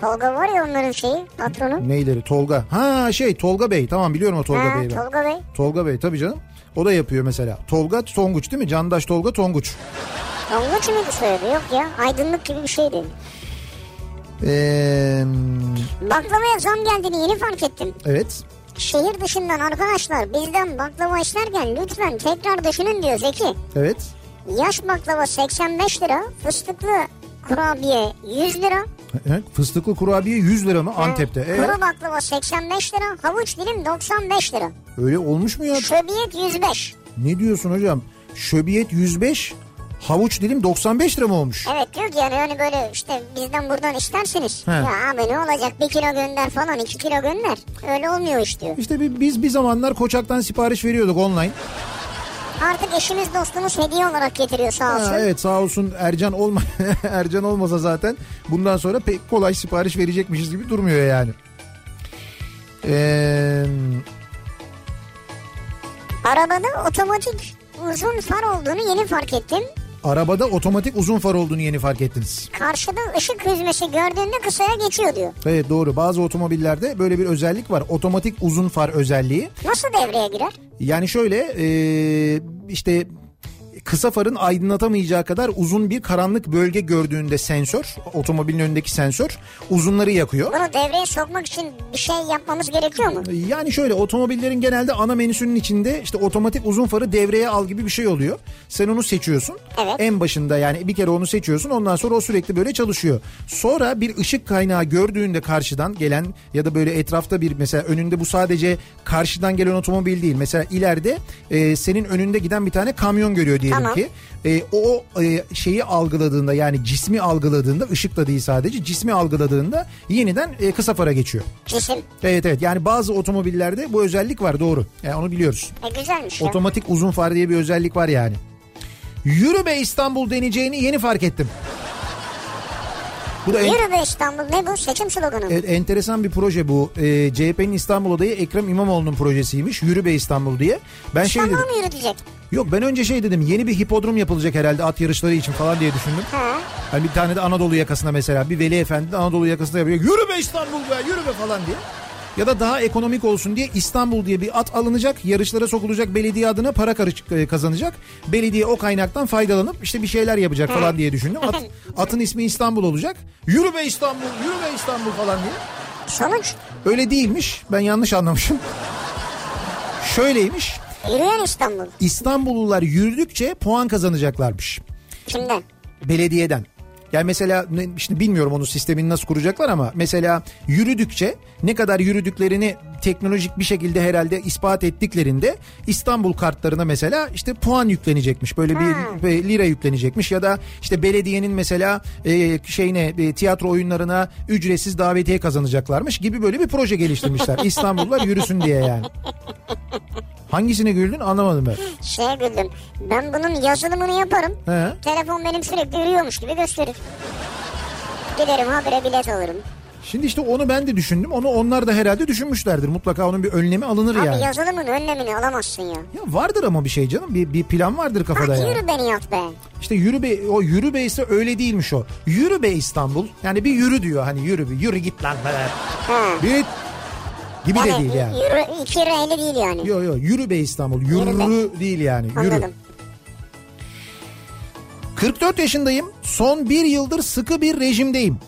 Tolga var ya onların şeyi patronu. Neyleri? Tolga. Ha şey Tolga Bey. Tamam biliyorum o Tolga ha, Bey'i ben. Tolga. Tolga Bey. Bey tabii canım. O da yapıyor mesela. Tolga Tonguç değil mi? Candaş Tolga Tonguç. Tolga mıydı söyledi? Yok ya aydınlık gibi bir şeydi. Ee, Baklavaya zam geldiğini yeni fark ettim. evet. Şehir dışından arkadaşlar bizden baklava isterken lütfen tekrar düşünün diyor Zeki. Evet. Yaş baklava 85 lira, fıstıklı kurabiye 100 lira, Evet, Fıstıklı kurabiye 100 lira mı Antep'te? Ee, kuru baklava 85 lira, havuç dilim 95 lira, Ee, öyle olmuş mu ya? şöbiyet 105. Ne diyorsun hocam? Şöbiyet 105, havuç dilim 95 lira mı olmuş? Evet diyor ki yani hani böyle işte bizden buradan isterseniz. He. Ya abi ne olacak bir kilo gönder falan iki kilo gönder. Öyle olmuyor iş diyor. İşte bi- biz bir zamanlar Koçak'tan sipariş veriyorduk online. Artık eşimiz dostumuz hediye olarak getiriyor sağ olsun. Ha, evet sağ olsun Ercan olma <laughs> Ercan olmasa zaten bundan sonra pek kolay sipariş verecekmişiz gibi durmuyor yani. Ee, Arabada otomatik uzun far olduğunu yeni fark ettim. arabada otomatik uzun far olduğunu yeni fark ettiniz. Karşıda ışık hüzmesi gördüğünde kısaya geçiyor diyor. Evet doğru bazı otomobillerde böyle bir özellik var. Otomatik uzun far özelliği. Nasıl devreye girer? Yani şöyle e, işte kısa farın aydınlatamayacağı kadar uzun bir karanlık bölge gördüğünde sensör, otomobilin önündeki sensör uzunları yakıyor. Bunu devreye sokmak için bir şey yapmamız gerekiyor mu? Yani şöyle otomobillerin genelde ana menüsünün içinde işte otomatik uzun farı devreye al gibi bir şey oluyor. Sen onu seçiyorsun. Evet. En başında yani bir kere onu seçiyorsun ondan sonra o sürekli böyle çalışıyor. Sonra bir ışık kaynağı gördüğünde karşıdan gelen ya da böyle etrafta bir mesela önünde bu sadece karşıdan gelen otomobil değil. Mesela ileride e, senin önünde giden bir tane kamyon görüyor diyelim Tamam. ki. E, o e, şeyi algıladığında yani cismi algıladığında ışık da değil sadece cismi algıladığında yeniden e, kısa fara geçiyor. Cisim. Evet evet yani bazı otomobillerde bu özellik var doğru. Yani onu biliyoruz. E güzelmiş ya. Otomatik uzun far diye bir özellik var yani. Yürü be İstanbul deneyeceğini yeni fark ettim. Bu da en- Yürü be İstanbul ne bu seçim sloganı mı? evet, enteresan bir proje bu. Ee, CHP'nin İstanbul odayı Ekrem İmamoğlu'nun projesiymiş. Yürü be İstanbul diye. Ben şey İstanbul dedim. mu yürütecek? Yok ben önce şey dedim. Yeni bir hipodrom yapılacak herhalde at yarışları için falan diye düşündüm. Ha. Hani bir tane de Anadolu yakasına mesela bir Veli Efendi de Anadolu yakasına yapıyor. Yürü be İstanbul be yürü be falan diye. Ya da daha ekonomik olsun diye İstanbul diye bir at alınacak, yarışlara sokulacak belediye adına para karış- e, kazanacak. Belediye o kaynaktan faydalanıp işte bir şeyler yapacak falan diye düşündüm. At, atın ismi İstanbul olacak. Yürü be İstanbul, yürü be İstanbul falan diye. Sonuç Öyle değilmiş. Ben yanlış anlamışım. <laughs> Şöyleymiş. yürüyen İstanbul. İstanbullular yürüdükçe puan kazanacaklarmış Kimden? belediyeden. Yani mesela ne- şimdi bilmiyorum onun sistemini nasıl kuracaklar ama mesela yürüdükçe ne kadar yürüdüklerini teknolojik bir şekilde herhalde ispat ettiklerinde İstanbul kartlarına mesela işte puan yüklenecekmiş. Böyle bir bir lira yüklenecekmiş ya da işte belediyenin mesela e, şeyine e, tiyatro oyunlarına ücretsiz davetiye kazanacaklarmış gibi böyle bir proje geliştirmişler. İstanbullular yürüsün diye yani. Hangisine güldün anlamadım ben. Şeye güldüm. Ben bunun yazılımını yaparım. He. Telefon benim sürekli yürüyormuş gibi gösterir. Giderim habire bilet alırım. Şimdi işte onu ben de düşündüm. Onu onlar da herhalde düşünmüşlerdir. Mutlaka onun bir önlemi alınır Abi yani. yazılımın önlemini alamazsın ya. Ya vardır ama bir şey canım. Bir, bir plan vardır kafada Bak yani. yürü beni yat be. İşte yürü be o yürü be ise öyle değilmiş o. Yürü be İstanbul. Yani bir yürü diyor hani yürü bir yürü git lan. be. Ha. Bir git. gibi de değil yani. Yürü, iki reyli değil yani. Yok yok yürü be İstanbul. Yürü Yürü değil yani. Yürü. Anladım. 44 yaşındayım. Son bir yıldır sıkı bir rejimdeyim.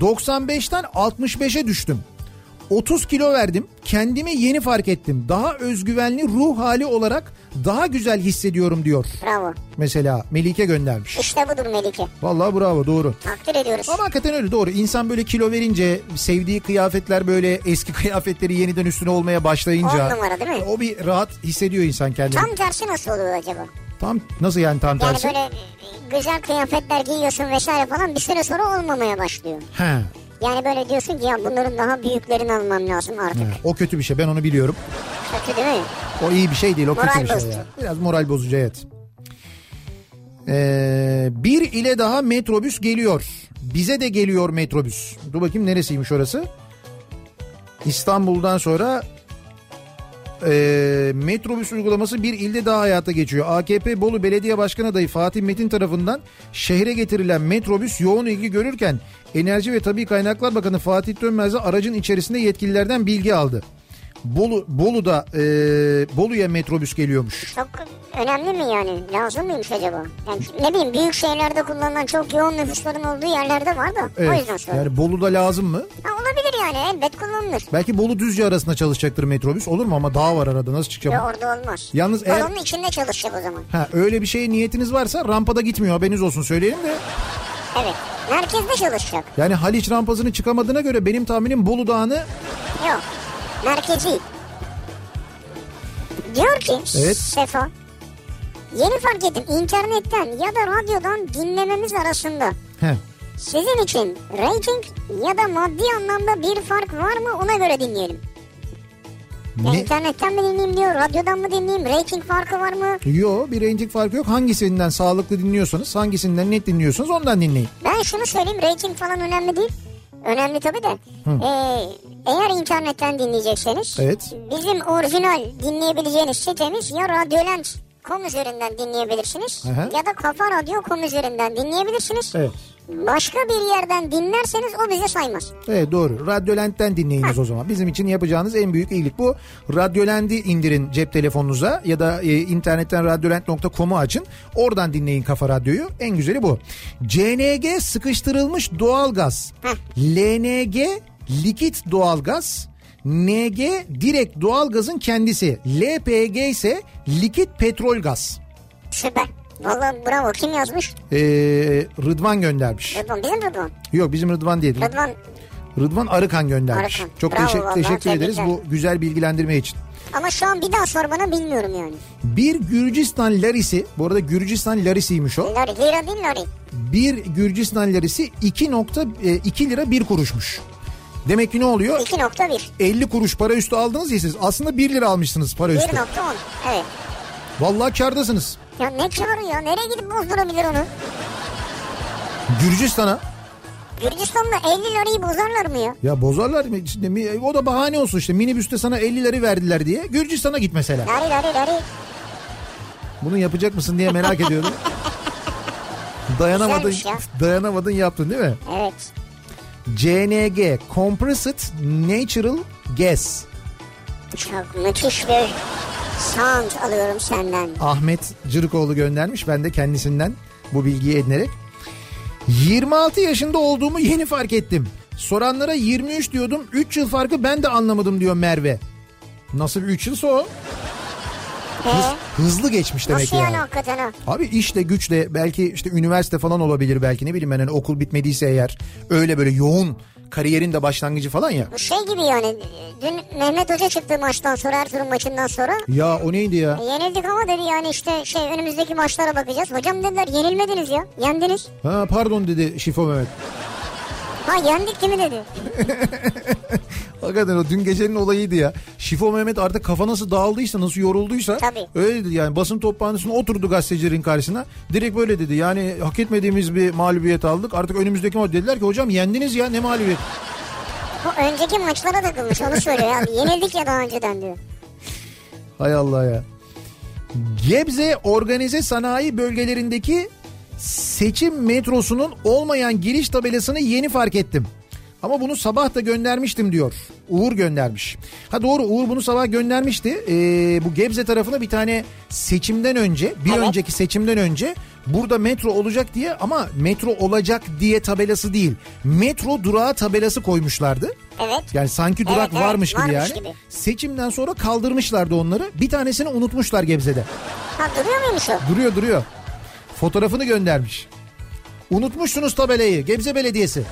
95'ten 65'e düştüm. 30 kilo verdim. Kendimi yeni fark ettim. Daha özgüvenli ruh hali olarak daha güzel hissediyorum diyor. Bravo. Mesela Melike göndermiş. İşte budur Melike. Vallahi bravo doğru. Takdir ediyoruz. Ama hakikaten öyle doğru. İnsan böyle kilo verince sevdiği kıyafetler böyle eski <laughs> kıyafetleri yeniden üstüne olmaya başlayınca. On numara değil mi? O bir rahat hissediyor insan kendini. Tam, Tam tersi nasıl oluyor acaba? nasıl yani tam Yani tersi? böyle e, güzel kıyafetler giyiyorsun vesaire falan bir süre sonra olmamaya başlıyor. He. Yani böyle diyorsun ki ya bunların daha büyüklerini almam lazım artık. He, O kötü bir şey ben onu biliyorum. Kötü değil mi? O iyi bir şey değil o kötü Moral bir şey. bozucu. ya. Biraz moral bozucu evet. Ee, bir ile daha metrobüs geliyor. Bize de geliyor metrobüs. Dur bakayım neresiymiş orası? İstanbul'dan sonra e, metrobüs uygulaması bir ilde daha hayata geçiyor. AKP Bolu Belediye Başkanı adayı Fatih Metin tarafından şehre getirilen metrobüs yoğun ilgi görürken Enerji ve Tabi Kaynaklar Bakanı Fatih Dönmez de aracın içerisinde yetkililerden bilgi aldı. Bolu Bolu'da e, Bolu'ya metrobüs geliyormuş. Çok önemli mi yani? Lazım mıymış acaba? Yani ne bileyim büyük şehirlerde kullanılan çok yoğun nüfusların olduğu yerlerde var da. O Evet. yüzden sordum. Yani Bolu'da lazım mı? Ha, olabilir yani elbet kullanılır. Belki Bolu Düzce arasında çalışacaktır metrobüs. Olur mu ama dağ var arada nasıl Ve çıkacağım? orada olmaz. Yalnız eğer- Balonun içinde çalışacak o zaman. Ha, öyle bir şey niyetiniz varsa rampada gitmiyor haberiniz olsun söyleyelim de. Evet. Merkezde çalışacak. Yani Haliç rampasını çıkamadığına göre benim tahminim Bolu Dağı'nı Yok. Merkezi. Diyor ki Evet. Sefa. Yeni fark ettim internetten ya da radyodan dinlememiz arasında Heh, sizin için rating ya da maddi anlamda bir fark var mı ona göre dinleyelim. Ya ne? internetten mi dinleyeyim diyor, radyodan mı dinleyeyim, rating farkı var mı? Yo bir reyting farkı yok. Hangisinden sağlıklı dinliyorsanız hangisinden net dinliyorsanız ondan dinleyin. Ben şunu söyleyeyim, rating falan önemli değil. Önemli tabii de. Ee, eğer internetten dinleyecekseniz Evet. bizim orijinal dinleyebileceğiniz sitemiz ya radyoland.com üzerinden dinleyebilirsiniz Aha. ya da kafa radyo.com üzerinden dinleyebilirsiniz. Evet. Başka bir yerden dinlerseniz o bize saymaz. Evet doğru. Radyolent'ten dinleyiniz o zaman. Bizim için yapacağınız en büyük iyilik bu. Radyolent'i indirin cep telefonunuza ya da e, internetten radyolent.com'u açın. Oradan dinleyin Kafa Radyo'yu. En güzeli bu. CNG sıkıştırılmış doğalgaz. LNG likit doğalgaz. NG direkt doğalgazın kendisi. LPG ise likit petrol gaz. Süper. Vallahi bravo. Kim yazmış? Ee, Rıdvan göndermiş. Rıdvan. Bizim Rıdvan. Yok bizim Rıdvan değil. Rıdvan Rıdvan Arıkan göndermiş. Arıkan. Çok Bravo teşekkür, vallahi, teşekkür ederiz tebrikler. bu güzel bilgilendirme için. ama şu an bir daha sor bana bilmiyorum yani. Bir Gürcistan larisi, bu arada Gürcistan larisiymiş o. Lari. Lira değil Lari. Bir Gürcistan larisi 2.2 lira 1 kuruşmuş. Demek ki ne oluyor? 2.1. 50 kuruş para üstü aldınız ya siz. Aslında 1 lira almışsınız para üstü. 1.10. Evet. Vallahi kardasınız. Ya ne karı ya? Nereye gidip bozdurabilir onu? Gürcistan'a Gürcistan'da 50 lirayı bozarlar mı ya? ya bozarlar mı? Şimdi mi- E, o da bahane olsun işte minibüste sana 50 lira verdiler diye Gürcistan'a git mesela. Lari lari lari. Bunu yapacak mısın diye merak <laughs> ediyorum. dayanamadın, Güzelmiş ya. dayanamadın yaptın değil mi? Evet. CNG Compressed Natural Gas Çok müthiş bir sound alıyorum senden. Ahmet Cırıkoğlu göndermiş. Ben de kendisinden bu bilgiyi edinerek. 26 yaşında olduğumu yeni fark ettim. Soranlara 23 diyordum. 3 yıl farkı ben de anlamadım diyor Merve. Nasıl 3 yılsa o? Ee, Hız- hızlı geçmiş demek nasıl şey yani yani. hakikaten ha? Abi işle güçle belki işte üniversite falan olabilir belki ne bileyim ben hani okul bitmediyse eğer öyle böyle yoğun kariyerin de başlangıcı falan ya. Bu şey gibi yani. Dün Mehmet Hoca çıktı maçtan sonra Ertuğrul maçından sonra. Ya o neydi ya? E, yenildik ama dedi yani işte şey önümüzdeki maçlara bakacağız. Hocam dediler yenilmediniz ya. Yendiniz. Ha pardon dedi Şifo Mehmet. Ha yendik değil mi dedi. Hakikaten o dün gecenin olayıydı ya. Şifo Mehmet artık kafa nasıl dağıldıysa nasıl yorulduysa Tabii. öyle dedi yani basın toplantısına oturdu gazetecilerin karşısına. Direkt böyle dedi yani hak etmediğimiz bir mağlubiyet aldık artık önümüzdeki maç dediler ki hocam yendiniz ya ne mağlubiyet. Bu önceki maçlara takılmış onu söylüyor <laughs> ya. Yenildik ya daha önceden diyor. Hay Allah ya. Gebze organize sanayi bölgelerindeki seçim metrosunun olmayan giriş tabelasını yeni fark ettim. Ama bunu sabah da göndermiştim diyor. Uğur göndermiş. Ha doğru Uğur bunu sabah göndermişti. Ee, bu Gebze tarafına bir tane seçimden önce, bir Evet. önceki seçimden önce burada metro olacak diye ama metro olacak diye tabelası değil. Metro durağı tabelası koymuşlardı. Evet. Yani sanki durak Evet, evet, varmış gibi varmış yani. gibi. Seçimden sonra kaldırmışlardı onları. Bir tanesini unutmuşlar Gebze'de. Ha duruyor muymuş o? Duruyor duruyor. Fotoğrafını göndermiş. Unutmuşsunuz tabelayı. Gebze Belediyesi.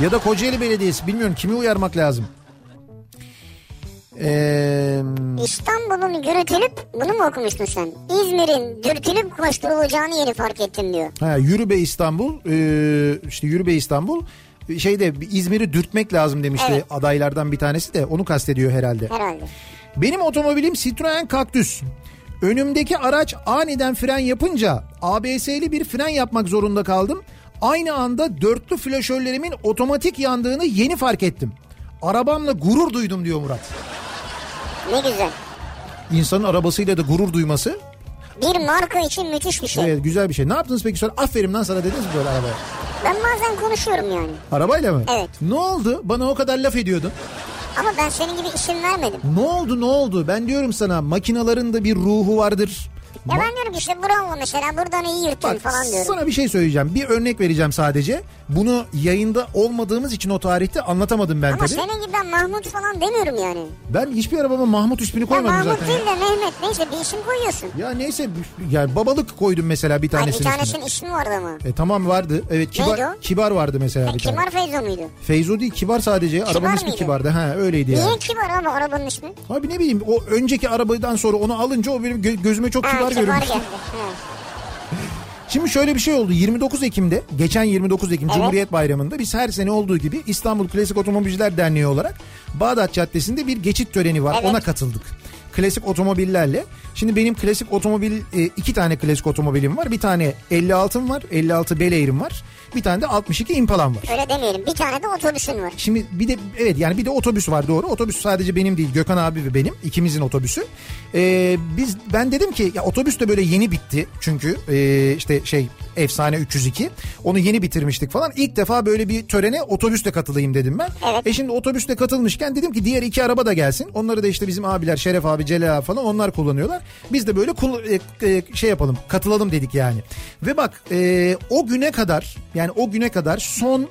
Ya da Kocaeli Belediyesi. Bilmiyorum kimi uyarmak lazım. Ee, İstanbul'un yürütülüp bunu mu okumuştun sen? İzmir'in dürtülüp koşturulacağını yeni fark ettim diyor. ha, yürü be İstanbul. Ee, işte yürü be İstanbul. Şeyde İzmir'i dürtmek lazım demişti Evet. adaylardan bir tanesi de. Onu kastediyor herhalde. Herhalde. Benim otomobilim Citroen Kaktüs. Önümdeki araç aniden fren yapınca ABS'li bir fren yapmak zorunda kaldım. Aynı anda dörtlü flaşörlerimin otomatik yandığını yeni fark ettim. Arabamla gurur duydum diyor Murat. Ne güzel. İnsanın arabasıyla da gurur duyması Bir marka için müthiş bir şey. evet, güzel bir şey. Ne yaptınız peki sonra? Aferin lan sana dediniz mi böyle arabaya? Ben bazen konuşuyorum yani. Arabayla mı? Evet. Ne oldu? Bana o kadar laf ediyordun. Ama ben senin gibi isim vermedim. Ne oldu ne oldu? Ben diyorum sana makinaların da bir ruhu vardır. Ya Ma- ben diyorum ki işte bravo mesela buradan iyi yırtın Bak falan diyorum. sana bir şey söyleyeceğim. Bir örnek vereceğim sadece. Bunu yayında olmadığımız için o tarihte anlatamadım ben Ama şey- tabii. senin gibi ben Mahmut falan demiyorum yani. Ben hiçbir arabama Mahmut ismini Ya koymadım Mahmut zaten. değil de Mehmet neyse bir isim koyuyorsun. Ya neyse yani babalık koydum mesela bir Ay bir tanesinin tanesinin ismi vardı ama. ismini. E tamam vardı. Evet kibar, Neydi o? E, kibar vardı mesela bir tane. Kibar Feyzo muydu? Feyzo değil kibar sadece. Arabanın ismi mıydı? kibardı. Ha öyleydi yani. Niye kibar ama arabanın ismi? Abi ne bileyim o önceki arabadan sonra onu alınca o benim gö- gözüme çok Ha kibar kibar, görünmüş. geldi. Ha. Şimdi şöyle bir şey oldu. 29 Ekim'de, geçen 29 Ekim Evet. Cumhuriyet Bayramı'nda biz her sene olduğu gibi İstanbul Klasik Otomobilciler Derneği olarak Bağdat Caddesi'nde bir geçit töreni var. Evet. Ona katıldık. Klasik otomobillerle. Şimdi benim klasik otomobil e, iki tane klasik otomobilim var. Bir tane 56'm var. 56 Belair'im var. Bir tane de 62 Impala'm var. Öyle demeyelim. Bir tane de otobüsün var. Şimdi bir de evet yani bir de otobüs var doğru. Otobüs sadece benim değil Gökhan abi ve benim ikimizin otobüsü. Ee, biz ben dedim ki ya otobüs de böyle yeni bitti çünkü ee, işte şey efsane 302 onu yeni bitirmiştik falan. İlk defa böyle bir törene otobüsle katılayım dedim ben. Evet. E şimdi otobüsle katılmışken dedim ki diğer iki araba da gelsin. Onları da işte bizim abiler Şeref abi Celal abi falan onlar kullanıyorlar. Biz de böyle kul- e, e, şey yapalım katılalım dedik yani. Ve bak ee, o güne kadar yani o güne kadar son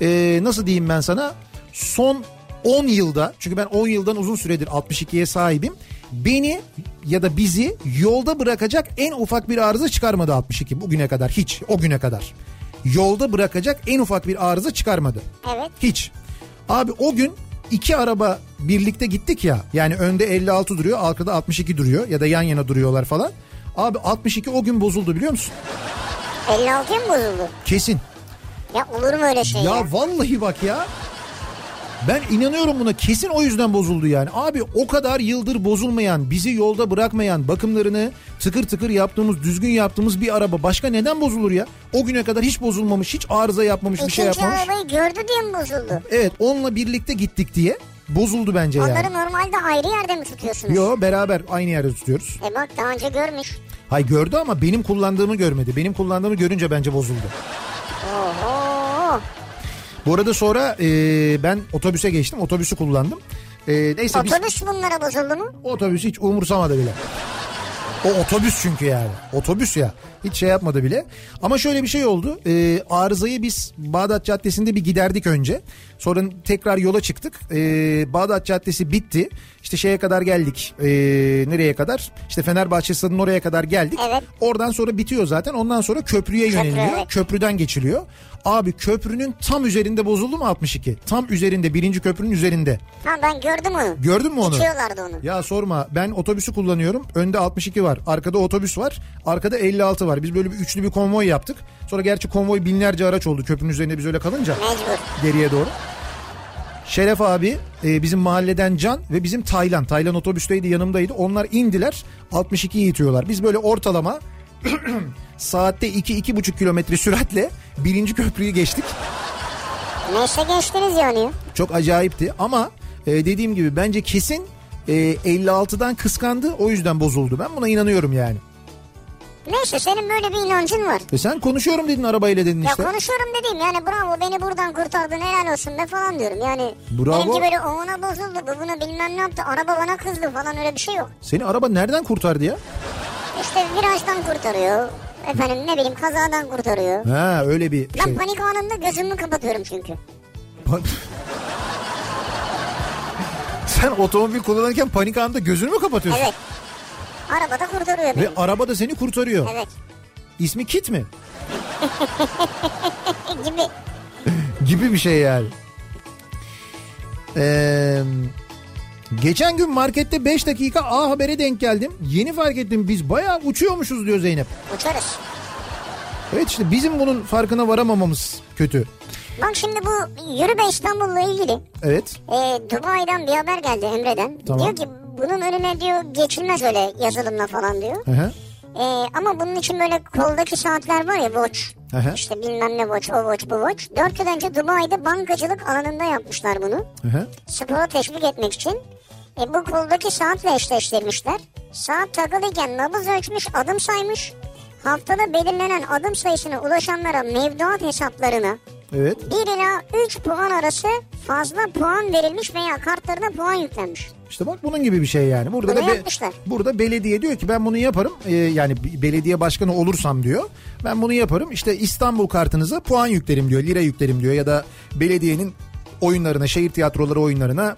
ee, nasıl diyeyim ben sana son 10 yılda çünkü ben 10 yıldan uzun süredir 62'ye sahibim beni ya da bizi yolda bırakacak en ufak bir arıza çıkarmadı 62 bugüne kadar hiç o güne kadar yolda bırakacak en ufak bir arıza çıkarmadı Evet. hiç abi o gün iki araba birlikte gittik ya yani önde 56 duruyor arkada 62 duruyor ya da yan yana duruyorlar falan abi 62 o gün bozuldu biliyor musun 56'ya mı bozuldu? kesin Ya olur mu öyle şey ya? ya vallahi bak ya. Ben inanıyorum buna kesin o yüzden bozuldu yani. Abi o kadar yıldır bozulmayan, bizi yolda bırakmayan, bakımlarını tıkır tıkır yaptığımız, düzgün yaptığımız bir araba başka neden bozulur ya? O güne kadar hiç bozulmamış, hiç arıza yapmamış, bir İkinci şey yapmamış. arabayı gördü diye mi bozuldu? Evet, onunla birlikte gittik diye bozuldu bence yani. Onları normalde ayrı yerde mi tutuyorsunuz? Yo beraber aynı yerde tutuyoruz. E bak daha önce görmüş. Hay gördü ama benim kullandığımı görmedi. Benim kullandığımı görünce bence bozuldu. Oho. Bu arada sonra e, ben otobüse geçtim. Otobüsü kullandım. E, neyse biz- Otobüs bunlara bozuldu mu? O Otobüs hiç umursamadı bile. O otobüs çünkü yani. Otobüs ya. Hiç şey yapmadı bile. Ama şöyle bir şey oldu. Ee, arızayı biz Bağdat Caddesi'nde bir giderdik önce. Sonra tekrar yola çıktık. Ee, Bağdat Caddesi bitti. İşte şeye kadar geldik. Ee, nereye kadar? İşte Fenerbahçe Stadı'nın oraya kadar geldik. Evet. Oradan sonra bitiyor zaten. Ondan sonra köprüye Köprü, yöneliyor. evet. Köprüden geçiliyor. Abi köprünün tam üzerinde bozuldu mu 62? Tam üzerinde. Birinci köprünün üzerinde. Ha ben gördüm onu. Gördün mü onu? İçiyorlardı onu. Ya sorma ben otobüsü kullanıyorum. Önde 62 var. Arkada otobüs var. Arkada 56 var. Biz böyle bir üçlü bir konvoy yaptık. Sonra gerçi konvoy binlerce araç oldu köprünün üzerinde biz öyle kalınca Mecbur. geriye doğru. Şeref abi e, bizim mahalleden Can ve bizim Taylan. Taylan otobüsteydi yanımdaydı. Onlar indiler 62'yi itiyorlar. Biz böyle ortalama <clears throat> saatte 2-2,5 kilometre süratle birinci köprüyü geçtik. Neyse geçtiniz yani. Çok acayipti ama e, dediğim gibi bence kesin e, 56'dan kıskandı o yüzden bozuldu. Ben buna inanıyorum yani. Neyse senin böyle bir inancın var. E sen konuşuyorum dedin arabayla dedin işte. Ya konuşuyorum dediğim yani bravo beni buradan kurtardın helal olsun be falan diyorum. Yani Bravo. benimki böyle o ona bozuldu bu buna bilmem ne yaptı araba bana kızdı falan öyle bir şey yok. Seni araba nereden kurtardı ya? İşte virajdan kurtarıyor. Efendim ne bileyim kazadan kurtarıyor. Ha öyle bir Ben şey. <laughs> panik anında gözümü kapatıyorum çünkü. sen otomobil kullanırken panik anında gözünü mü kapatıyorsun? Evet. Arabada kurtarıyor beni. Ve araba da seni kurtarıyor. Evet. İsmi Kit mi? E, gibi. gibi bir şey yani. Ee, geçen gün markette 5 dakika A Haber'e denk geldim. Yeni fark ettim biz bayağı uçuyormuşuz diyor Zeynep. Uçarız. Evet işte bizim bunun farkına varamamamız kötü. Bak şimdi bu Yürü Be İstanbul'la ilgili Evet. e, Dubai'den bir haber geldi Emre'den. Tamam. Diyor ki bunun önüne diyor geçilmez öyle yazılımla falan diyor. Hı hı. E, ama bunun için böyle koldaki saatler var ya watch. Hı hı. İşte bilmem ne watch o watch bu watch. Dört yıl önce Dubai'de bankacılık alanında yapmışlar bunu. Hı hı. Spora teşvik etmek için. E, bu koldaki saatle eşleştirmişler. Saat takılıyken nabız ölçmüş, adım saymış. Haftada belirlenen adım sayısına ulaşanlara mevduat hesaplarına Evet. 1 ila 3 puan arası fazla puan verilmiş veya kartlarına puan yüklenmiş. İşte bak bunun gibi bir şey yani. Burada Bunu da yapmışlar. burada belediye diyor ki ben bunu yaparım. Ee, yani b- belediye başkanı olursam diyor. Ben bunu yaparım. İşte İstanbul kartınıza puan yüklerim diyor. Lira yüklerim diyor ya da belediyenin oyunlarına, şehir tiyatroları oyunlarına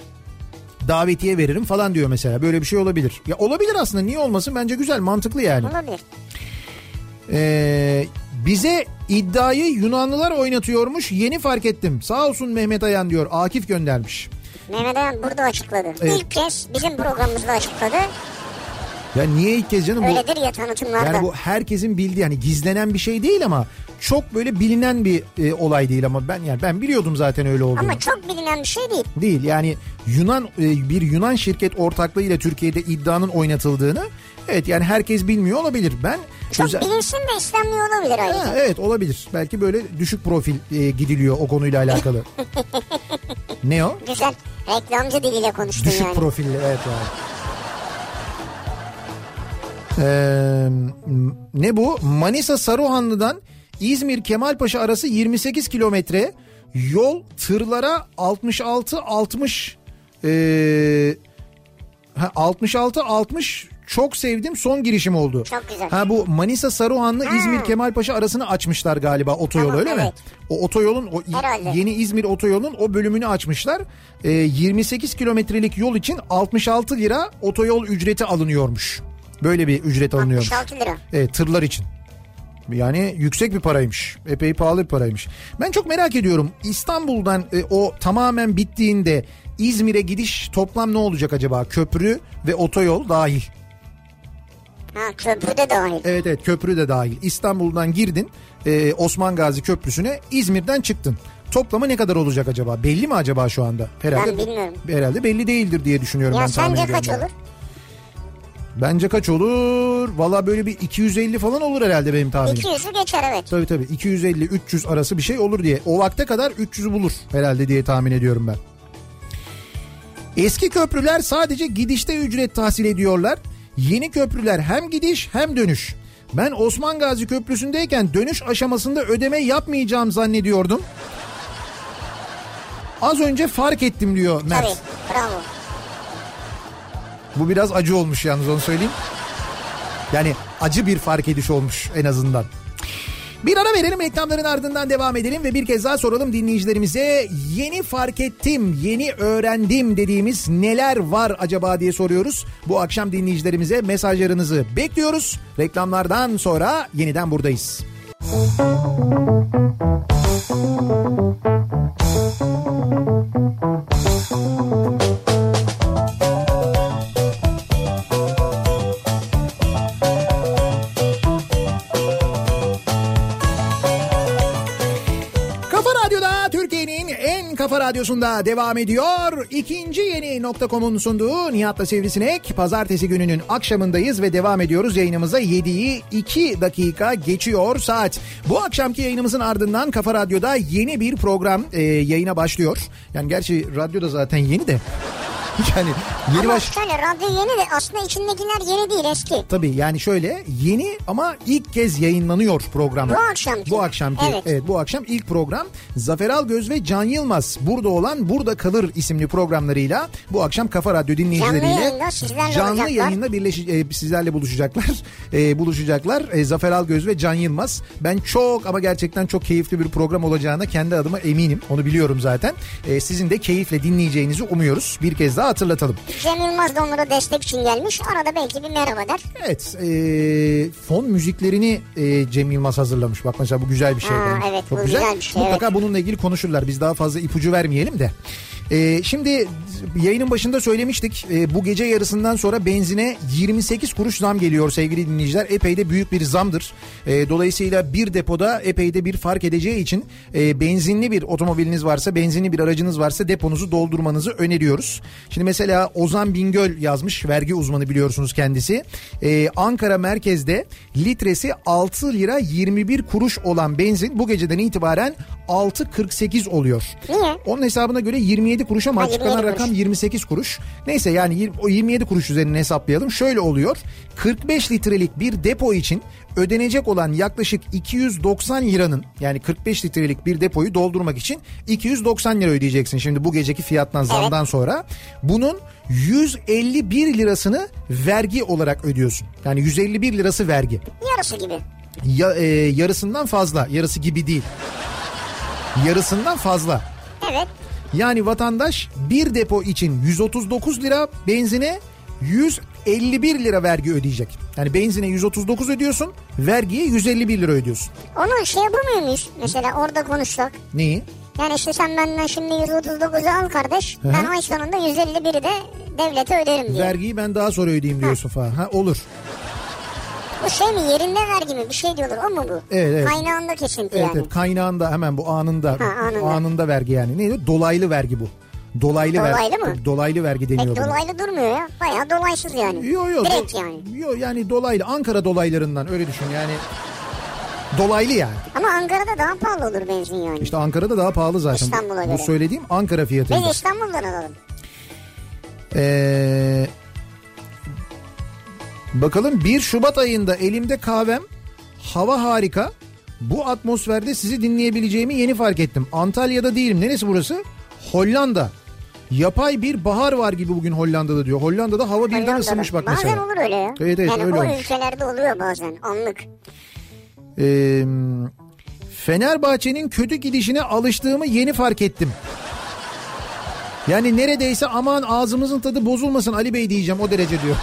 davetiye veririm falan diyor mesela. Böyle bir şey olabilir. Ya olabilir aslında. Niye olmasın? Bence güzel, mantıklı yani. Olabilir. Ee, bize iddiayı Yunanlılar oynatıyormuş. Yeni fark ettim. Sağ olsun Mehmet Ayan diyor. Akif göndermiş. Mehmet Ayan burada açıkladı. Evet. İlk kez bizim programımızda açıkladı. Ya niye ilk kez canım bu? Öyledir ya tanıtımlarda. Yani bu herkesin bildiği yani gizlenen bir şey değil ama çok böyle bilinen bir e, olay değil ama ben yani ben biliyordum zaten öyle olduğunu. Ama çok bilinen bir şey değil. Değil yani Yunan e, bir Yunan şirket ortaklığıyla Türkiye'de iddianın oynatıldığını evet yani herkes bilmiyor olabilir. Ben Çok özel- bilinsin de istenmiyor olabilir ayrıca. Ha, evet olabilir. Belki böyle düşük profil e, gidiliyor o konuyla <laughs> alakalı. ne o? Güzel. Reklamcı diliyle konuştun Düşük yani. profilli evet yani. Ee, m- ne bu? Manisa Saruhanlı'dan İzmir Kemalpaşa arası 28 kilometre. Yol tırlara 66 60 ee, ha, 66 60 çok sevdim son girişim oldu. Çok güzel. Ha bu Manisa Saruhanlı İzmir Kemalpaşa arasını açmışlar galiba otoyolu Tamam, öyle mi? evet. O otoyolun o i- Herhalde. yeni İzmir otoyolunun o bölümünü açmışlar. Ee, 28 kilometrelik yol için 66 lira otoyol ücreti alınıyormuş. Böyle bir ücret alınıyormuş. 66 lira. Evet, tırlar için. Yani yüksek bir paraymış. Epey pahalı bir paraymış. Ben çok merak ediyorum. İstanbul'dan e, o tamamen bittiğinde İzmir'e gidiş toplam ne olacak acaba? Köprü ve otoyol dahil. Ha köprü de dahil. Evet evet köprü de dahil. İstanbul'dan girdin e, Osman Gazi Köprüsü'ne İzmir'den çıktın. Toplamı ne kadar olacak acaba? Belli mi acaba şu anda? Herhalde, Ben bilmiyorum. Herhalde belli değildir diye düşünüyorum. ben ya tahmin sence ediyorum kaç yani. olur? Bence kaç olur? Valla böyle bir 250 falan olur herhalde benim tahminim. 200'ü geçer evet. Tabii tabii 250-300 arası bir şey olur diye. O vakte kadar 300'ü bulur herhalde diye tahmin ediyorum ben. Eski köprüler sadece gidişte ücret tahsil ediyorlar. Yeni köprüler hem gidiş hem dönüş. Ben Osman Gazi Köprüsü'ndeyken dönüş aşamasında ödeme yapmayacağım zannediyordum. Az önce fark ettim diyor Mert. Tabii. Bravo. Bu biraz acı olmuş yalnız onu söyleyeyim. Yani acı bir fark ediş olmuş en azından. Bir ara verelim reklamların ardından devam edelim ve bir kez daha soralım dinleyicilerimize yeni fark ettim, yeni öğrendim dediğimiz neler var acaba diye soruyoruz. Bu akşam dinleyicilerimize mesajlarınızı bekliyoruz. Reklamlardan sonra yeniden buradayız. Kafa Radyo'da Türkiye'nin en kafa radyosunda devam ediyor. İkinci yeni nokta.com'un sunduğu Nihat'la Sivrisinek. Pazartesi gününün akşamındayız ve devam ediyoruz yayınımıza. 7'yi 2 dakika geçiyor saat. Bu akşamki yayınımızın ardından Kafa Radyo'da yeni bir program e, yayına başlıyor. Yani gerçi radyo da zaten yeni de. <laughs> yani yeni Ama baş... şöyle radyo yeni de aslında içindekiler yeni değil eski. Tabii yani şöyle yeni ama ilk kez yayınlanıyor program. Bu akşamki. Bu akşamki. Evet. Evet. bu akşam ilk program Zafer Algöz ve Can Yılmaz burada olan Burada Kalır isimli programlarıyla bu akşam Kafa Radyo dinleyicileriyle Canlı yayında sizlerle canlı olacaklar. yayınla birleşi, e, sizlerle buluşacaklar. <laughs> E, buluşacaklar E, Zafer Algöz ve Can Yılmaz. Ben çok ama gerçekten çok keyifli bir program olacağına kendi adıma eminim. Onu biliyorum zaten. E, sizin de keyifle dinleyeceğinizi umuyoruz. Bir kez daha hatırlatalım. Cem Yılmaz da onlara destek için gelmiş. Arada belki bir merhaba der. Evet e, fon müziklerini e, Cem Yılmaz hazırlamış. Bak mesela bu güzel bir şey. Ha, bence. evet, Çok bu güzel. güzel bir şey, Mutlaka bununla ilgili konuşurlar. Biz daha fazla ipucu vermeyelim de. E, şimdi yayının başında söylemiştik. E, bu gece yarısından sonra benzine 28 kuruş zam geliyor sevgili dinleyiciler. Epey de büyük bir zamdır. E, dolayısıyla bir depoda epey de bir fark edeceği için e, benzinli bir otomobiliniz varsa, benzinli bir aracınız varsa deponuzu doldurmanızı öneriyoruz. Şimdi mesela Ozan Bingöl yazmış. Vergi uzmanı biliyorsunuz kendisi. E, Ankara merkezde litresi 6 lira 21 kuruş olan benzin bu geceden itibaren 6.48 oluyor. Niye? Onun hesabına göre 27 kuruş ama Ha, açıklanan 27 rakam kuruş. 28 kuruş. Neyse yani yir- o 27 kuruş üzerinden hesaplayalım. Şöyle oluyor. 45 litrelik bir depo için ödenecek olan yaklaşık 290 liranın yani 45 litrelik bir depoyu doldurmak için 290 lira ödeyeceksin şimdi bu geceki fiyattan zamdan sonra. Bunun 151 lirasını vergi olarak ödüyorsun. Yani 151 lirası vergi. Yarısı gibi. Ya, e, yarısından fazla. Yarısı gibi değil. Yarısından fazla. Evet. Yani vatandaş bir depo için 139 lira benzine 151 lira vergi ödeyecek. Yani benzine 139 ödüyorsun, vergiye 151 lira ödüyorsun. Onu şey yapamıyor muyuz? Mesela orada konuşsak. Neyi? Yani işte sen benden şimdi 139'u al kardeş. Ben ay sonunda 151'i de devlete öderim diyor. Vergiyi ben daha sonra ödeyeyim diyorsun falan. Ha olur. Bu şey mi yerinde vergi mi? Bir şey diyorlar o mu bu? Evet, evet. Kaynağında kesinti Evet, yani. evet kaynağında hemen bu anında anında. anında vergi yani. Neydi? Dolaylı vergi bu. Dolaylı, vergi. Dolaylı mı? Dolaylı vergi deniyor Pek buna. dolaylı durmuyor ya. Bayağı dolaysız yani. Yo yo. Direkt do- yani. Yo yani dolaylı Ankara dolaylarından öyle düşün yani. Dolaylı yani. Ama Ankara'da daha pahalı olur benzin yani. İşte Ankara'da daha pahalı zaten. İstanbul'a Bu göre. söylediğim Ankara fiyatıydı. Biz İstanbul'dan alalım. Ee, bakalım 1 Şubat ayında elimde kahvem. Hava harika. Bu atmosferde sizi dinleyebileceğimi yeni fark ettim. Antalya'da değilim. Neresi burası? Hollanda. Yapay bir bahar var gibi bugün Hollanda'da diyor. Hollanda'da hava birden Hollanda'da. ısınmış bak bazen mesela. olur öyle ya. Evet, evet, yani öyle o olmuş. ülkelerde oluyor bazen anlık. Ee, Fenerbahçe'nin kötü gidişine alıştığımı yeni fark ettim. Yani neredeyse aman ağzımızın tadı bozulmasın Ali Bey diyeceğim o derece diyor.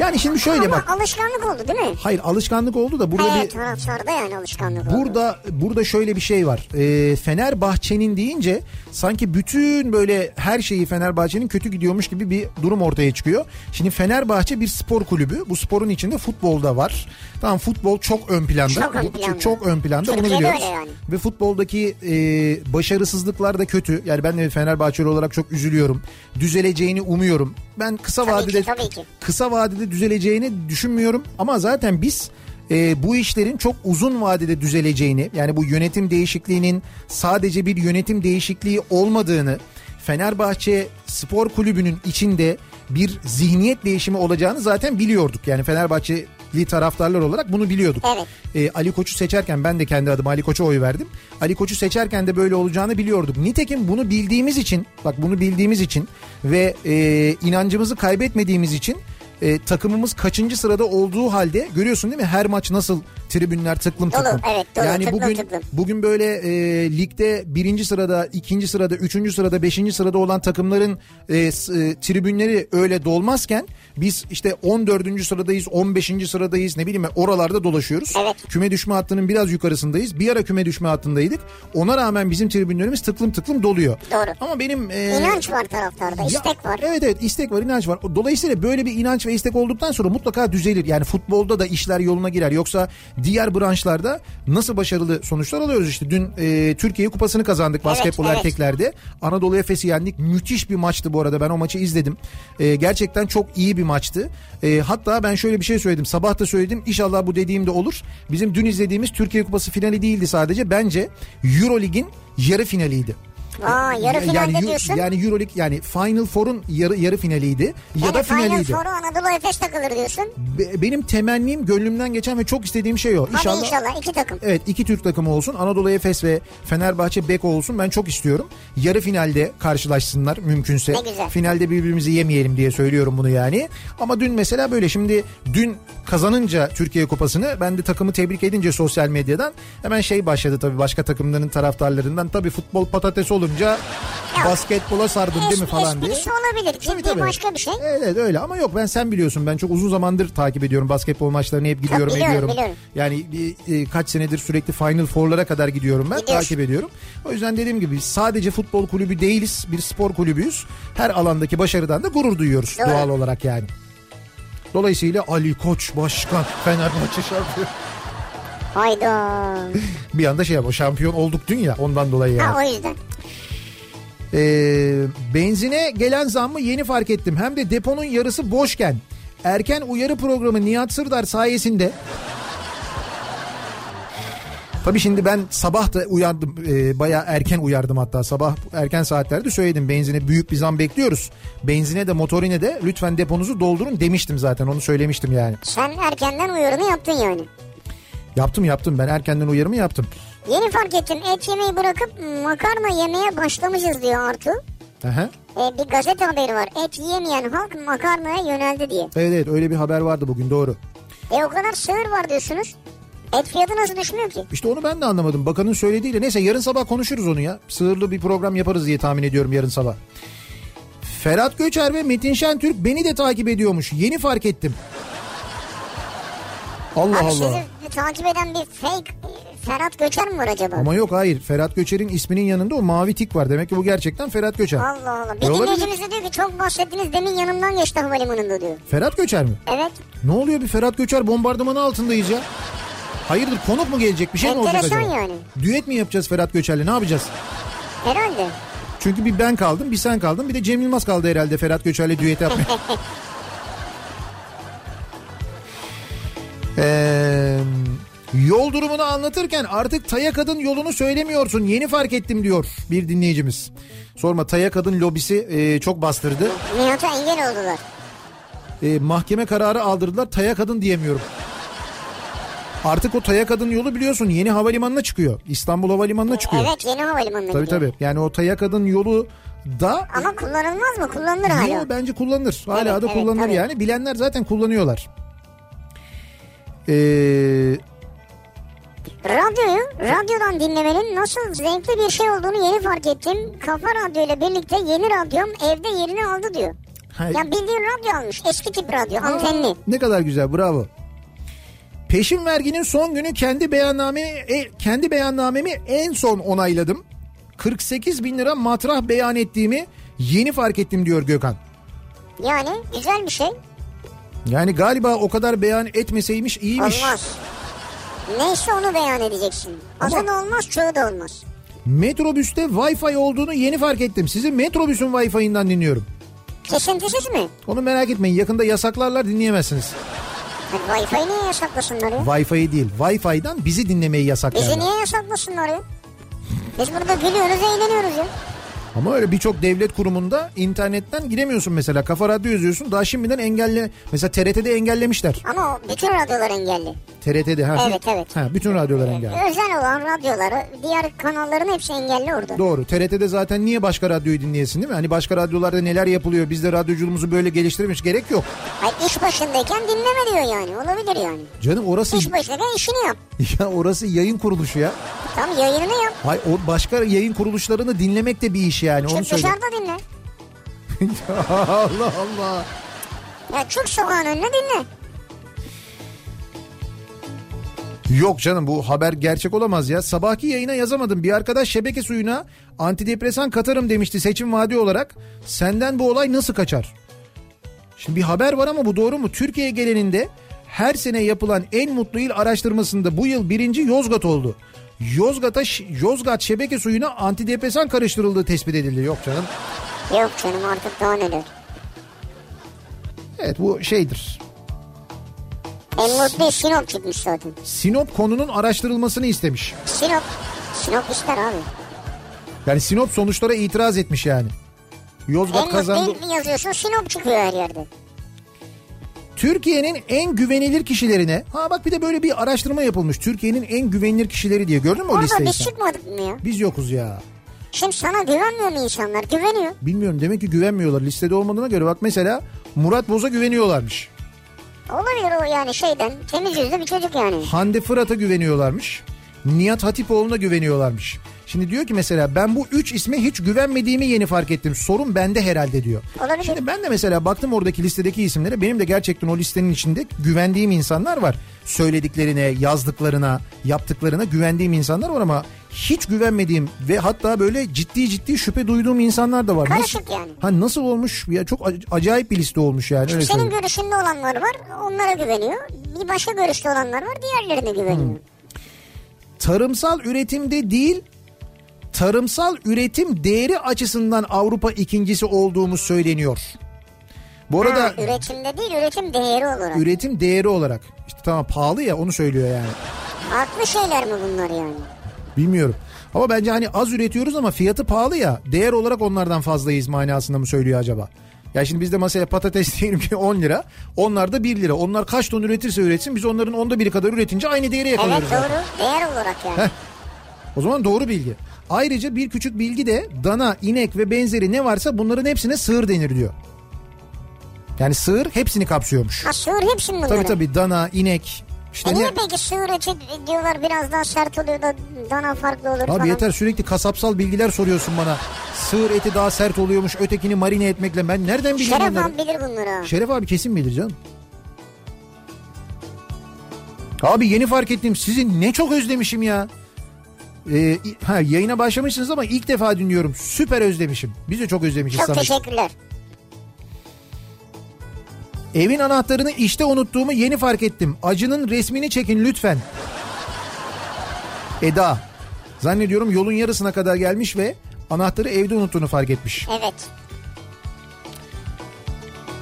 Yani şimdi şöyle Ama bak. alışkanlık oldu değil mi? Hayır alışkanlık oldu da burada Evet bir taraftarda yani alışkanlık oldu. burada burada şöyle bir şey var. Ee, Fenerbahçe'nin deyince sanki bütün böyle her şeyi Fenerbahçe'nin kötü gidiyormuş gibi bir durum ortaya çıkıyor. Şimdi Fenerbahçe bir spor kulübü. Bu sporun içinde futbol da var. Tamam futbol çok ön planda. Çok ön Bu- planda. çok ön planda bunu Türkiye'de biliyoruz. öyle yani. Ve futboldaki e, başarısızlıklar da kötü. Yani ben de Fenerbahçeli olarak çok üzülüyorum. Düzeleceğini umuyorum. Ben kısa Tabii vadede ki, tabii ki. kısa vadede düzeleceğini düşünmüyorum ama zaten biz e, bu işlerin çok uzun vadede düzeleceğini yani bu yönetim değişikliğinin sadece bir yönetim değişikliği olmadığını Fenerbahçe Spor Kulübü'nün içinde bir zihniyet değişimi olacağını zaten biliyorduk. Yani Fenerbahçeli taraftarlar olarak bunu biliyorduk. Evet. E, Ali Koç'u seçerken ben de kendi adıma Ali Koç'a oy verdim. Ali Koç'u seçerken de böyle olacağını biliyorduk. Nitekim bunu bildiğimiz için bak bunu bildiğimiz için ve e, inancımızı kaybetmediğimiz için e, takımımız kaçıncı sırada olduğu halde görüyorsun değil mi her maç nasıl tribünler tıklım Dolu, tıklım. evet, dolu, yani tıklım bugün tıklım. bugün böyle e, ligde birinci sırada, ikinci sırada, üçüncü sırada, beşinci sırada olan takımların e, s- e, tribünleri öyle dolmazken biz işte 14. sıradayız, 15. sıradayız ne bileyim ben, oralarda dolaşıyoruz. Evet. Küme düşme hattının biraz yukarısındayız. Bir ara küme düşme hattındaydık. Ona rağmen bizim tribünlerimiz tıklım tıklım doluyor. Doğru. Ama benim... e, İnanç var taraftarda, ya- istek var. Evet evet istek var inanç var. Dolayısıyla böyle bir inanç ve istek olduktan sonra mutlaka düzelir. Yani futbolda da işler yoluna girer. Yoksa diğer branşlarda nasıl başarılı sonuçlar alıyoruz işte. Dün e, Türkiye Kupası'nı kazandık basketbol evet. erkeklerde. Anadolu Efes'i yendik. Müthiş bir maçtı bu arada ben o maçı izledim. E, gerçekten çok iyi bir maçtı. E, hatta ben şöyle bir şey söyledim sabah da söyledim. İnşallah bu dediğim de olur. Bizim dün izlediğimiz Türkiye Kupası finali değildi sadece. Bence Euro Lig'in yarı finaliydi. Aa, yarı finalde yani, diyorsun. Yani Euroleague yani Final Four'un yarı, yarı finaliydi ya da Final finaliydi. Four'u Anadolu Efes takılır diyorsun. Be- benim temennim gönlümden geçen ve çok istediğim şey o. Hadi İnşallah, inşallah iki takım. Evet iki Türk takımı olsun. Anadolu Efes ve Fenerbahçe Beko olsun. Ben çok istiyorum. Yarı finalde karşılaşsınlar mümkünse. Ne güzel. Finalde birbirimizi yemeyelim diye söylüyorum bunu yani. Ama dün mesela böyle şimdi dün kazanınca Türkiye Kupası'nı ben de takımı tebrik edince sosyal medyadan hemen şey başladı tabii başka takımların taraftarlarından. Tabii futbol patates olunca basketbola sardım değil mi Espri- falan diye. Esprisi olabilir. Ciddi başka bir şey. Evet evet, öyle ama yok ben sen biliyorsun ben çok uzun zamandır takip ediyorum basketbol maçlarını hep gidiyorum ediyorum. biliyorum, biliyorum. Yani e, e, kaç senedir sürekli Final Four'lara kadar gidiyorum ben Gidiyorsun. takip ediyorum. O yüzden dediğim gibi sadece futbol kulübü değiliz bir spor kulübüyüz. Her alandaki başarıdan da gurur duyuyoruz Doğru. doğal olarak yani. Dolayısıyla Ali Koç Başkan Fenerbahçe şampiyon. Hayda. Bir anda şey yapma şampiyon olduk dün ya ondan dolayı yani. Ha o yüzden. Ee, benzine gelen zammı yeni fark ettim. Hem de deponun yarısı boşken. Erken uyarı programı Nihat Sırdar sayesinde Tabii şimdi ben sabah da uyardım. E, bayağı erken uyardım hatta. Sabah erken saatlerde söyledim. Benzine büyük bir zam bekliyoruz. Benzine de motorine de lütfen deponuzu doldurun demiştim zaten. Onu söylemiştim yani. Sen erkenden uyarını yaptın yani. Yaptım yaptım. Ben erkenden uyarımı yaptım. Yeni fark ettim et yemeyi bırakıp makarna yemeye başlamışız diyor Artu. Aha. Ee, bir gazete haberi var. Et yiyemeyen halk makarnaya yöneldi diye. Evet evet öyle bir haber vardı bugün doğru. E o kadar sığır var diyorsunuz. Et fiyatı nasıl düşmüyor ki? İşte onu ben de anlamadım. Bakanın söylediğiyle neyse yarın sabah konuşuruz onu ya. Sığırlı bir program yaparız diye tahmin ediyorum yarın sabah. Ferhat Göçer ve Metin Şentürk beni de takip ediyormuş. Yeni fark ettim. Allah Abi Allah. sizi takip eden bir fake e, Ferhat Göçer mi var acaba? Ama yok hayır. Ferhat Göçer'in isminin yanında o mavi tik var. Demek ki bu gerçekten Ferhat Göçer. Allah Allah. Bir E, olabilir. dinleyicimiz de diyor ki çok bahsettiniz demin yanımdan geçti havalimanında diyor. Ferhat Göçer mi? Evet. Ne oluyor bir Ferhat Göçer bombardımanı altındayız ya. Hayırdır konuk mu gelecek bir şey mi olacak acaba? Enteresan yani. Düet mi yapacağız Ferhat Göçer'le ne yapacağız? Herhalde. Çünkü bir ben kaldım bir sen kaldın bir de Cem Yılmaz kaldı herhalde Ferhat Göçer'le düet yapmaya. Ee, yol durumunu anlatırken artık Taya Kadın yolunu söylemiyorsun yeni fark ettim diyor bir dinleyicimiz. Sorma Taya Kadın lobisi e, çok bastırdı. Nihat'a engel oldular. E, mahkeme kararı aldırdılar Taya Kadın diyemiyorum. Artık o Taya Kadın yolu biliyorsun yeni havalimanına çıkıyor. İstanbul Havalimanı'na çıkıyor. Evet yeni havalimanına Tabii gidiyor. tabii. Yani o Taya Kadın yolu da Ama kullanılmaz mı? Kullanılır hala. Yo, bence kullanılır. Hala Evet, da evet, kullanılır tabii. yani. Bilenler zaten kullanıyorlar. Ee, Radyoyu radyodan dinlemenin nasıl zevkli bir şey olduğunu yeni fark ettim. Kafa Radyo ile birlikte yeni radyom evde yerini aldı diyor. hay- Ya bildiğin radyo almış. Eski tip radyo. Antenli. ne kadar güzel bravo. Peşin verginin son günü kendi beyannamemi e, kendi beyannamemi en son onayladım. 48 bin lira matrah beyan ettiğimi yeni fark ettim diyor Gökhan. Yani güzel bir şey. Yani galiba o kadar beyan etmeseymiş iyiymiş. Olmaz. Neyse onu beyan edeceksin. Azı da olmaz, çoğu da olmaz. Metrobüste Wi-Fi olduğunu yeni fark ettim. Sizi metrobüsün Wi-Fi'inden dinliyorum. Kesintisiz mi? Onu merak etmeyin yakında yasaklarlar dinleyemezsiniz. Hani Wi-Fi niye yasaklasınlar ya? Wi-Fi değil. Wi-Fi'den bizi dinlemeyi Bizi yasaklarlar. niye yasaklasınlar ya? Biz burada gülüyoruz, eğleniyoruz ya. Ama öyle birçok devlet kurumunda internetten giremiyorsun mesela. Kafa radyo yazıyorsun. Daha şimdiden engelle... Mesela TRT'de engellemişler. Ama o bütün radyolar engelli. TRT'de ha. Evet, evet. Ha, bütün radyolar engelli. Özel olan radyoları, diğer kanalların hepsi engelli orada. Doğru. TRT'de zaten niye başka radyoyu dinleyesin değil mi? Hani başka radyolarda neler yapılıyor? Biz de radyoculuğumuzu böyle geliştirmiş gerek yok. Hayır, iş başındayken dinleme diyor yani. Olabilir yani. Canım orası İş başındayken işini yap. <laughs> ya orası yayın kuruluşu ya. Tam yayınını yap. Hay o başka yayın kuruluşlarını dinlemek de bir iş yani onu Çık söyle. dışarıda dinle. <laughs> Allah Allah. Ya çık sokağın önüne dinle. Yok canım bu haber gerçek olamaz ya. Sabahki yayına yazamadım. Bir arkadaş şebeke suyuna antidepresan katarım demişti seçim vaadi olarak. Senden bu olay nasıl kaçar? Şimdi bir haber var ama bu doğru mu? Türkiye geleninde her sene yapılan en mutlu il araştırmasında bu yıl birinci Yozgat oldu. Yozgat'a ş- Yozgat şebeke suyuna antidepresan karıştırıldığı tespit edildi. Yok canım. Yok canım artık daha neler. Evet bu şeydir. En mutlu Sinop çıkmış zaten. Sinop konunun araştırılmasını istemiş. Sinop. Sinop ister abi. Yani Sinop sonuçlara itiraz etmiş yani. Yozgat En kazandı. mutlu il yazıyorsun Sinop çıkıyor her yerde. Türkiye'nin en güvenilir kişilerine ha bak bir de böyle bir araştırma yapılmış. Türkiye'nin en güvenilir kişileri diye gördün mü o Orada listeyi? biz sen? çıkmadık mı ya? Biz yokuz ya. Şimdi sana güvenmiyor mu insanlar? Güveniyor. Bilmiyorum demek ki güvenmiyorlar. Listede olmadığına göre bak mesela Murat Boz'a güveniyorlarmış. Olabilir o yani şeyden temiz yüzlü bir çocuk yani. Hande Fırat'a güveniyorlarmış. Nihat Hatipoğlu'na güveniyorlarmış. Şimdi diyor ki mesela ben bu üç isme hiç güvenmediğimi yeni fark ettim. Sorun bende herhalde diyor. Olabilir. Şimdi ben de mesela baktım oradaki listedeki isimlere. Benim de gerçekten o listenin içinde güvendiğim insanlar var. Söylediklerine, yazdıklarına, yaptıklarına güvendiğim insanlar var ama hiç güvenmediğim ve hatta böyle ciddi ciddi şüphe duyduğum insanlar da var. Karışık Nasıl- yani. Ha nasıl olmuş? Ya çok ac- acayip bir liste olmuş yani. öyle Senin söyleyeyim. görüşünde olanlar var onlara güveniyor. Bir başka görüşte olanlar var diğerlerine güveniyor. Hmm. tarımsal üretimde değil tarımsal üretim değeri açısından Avrupa ikincisi olduğumuz söyleniyor. Bu arada Ha, üretimde değil üretim değeri olarak. üretim değeri olarak işte tamam pahalı ya onu söylüyor yani. Haklı şeyler mi bunlar yani? Bilmiyorum. Ama bence hani az üretiyoruz ama fiyatı pahalı ya. Değer olarak onlardan fazlayız manasında mı söylüyor acaba? Ya şimdi bizde masaya patates <laughs> diyelim ki 10 lira. Onlar da 1 lira. Onlar kaç ton üretirse üretsin biz onların onda biri kadar üretince aynı değeri Evet yakalıyoruz. zaten. doğru. Değer olarak yani. Heh. O zaman doğru bilgi. Ayrıca bir küçük bilgi de dana, inek ve benzeri ne varsa bunların hepsine sığır denir diyor. Yani sığır hepsini kapsıyormuş. Ha sığır hepsinin bunları. Tabii Hani- tabii dana, inek. işte E niye ne- peki sığır eti diyorlar biraz daha sert oluyor da dana farklı olur falan. Abi yeter sürekli kasapsal bilgiler soruyorsun bana. Sığır eti daha sert oluyormuş ötekini marine etmekle. Ben nereden bileyim Şeref bunları? abi bilir bunları. ha. Şeref abi kesin bilir canım. Abi yeni fark ettim sizi ne çok özlemişim ya. Ee, i- ha, yayına başlamışsınız ama ilk defa dinliyorum. Süper özlemişim. Biz de çok özlemişiz Çok sana. teşekkürler. Evin anahtarını işte unuttuğumu yeni fark ettim. Acının resmini çekin lütfen. Eda. Zannediyorum yolun yarısına kadar gelmiş ve anahtarı evde unuttuğunu fark etmiş. Evet.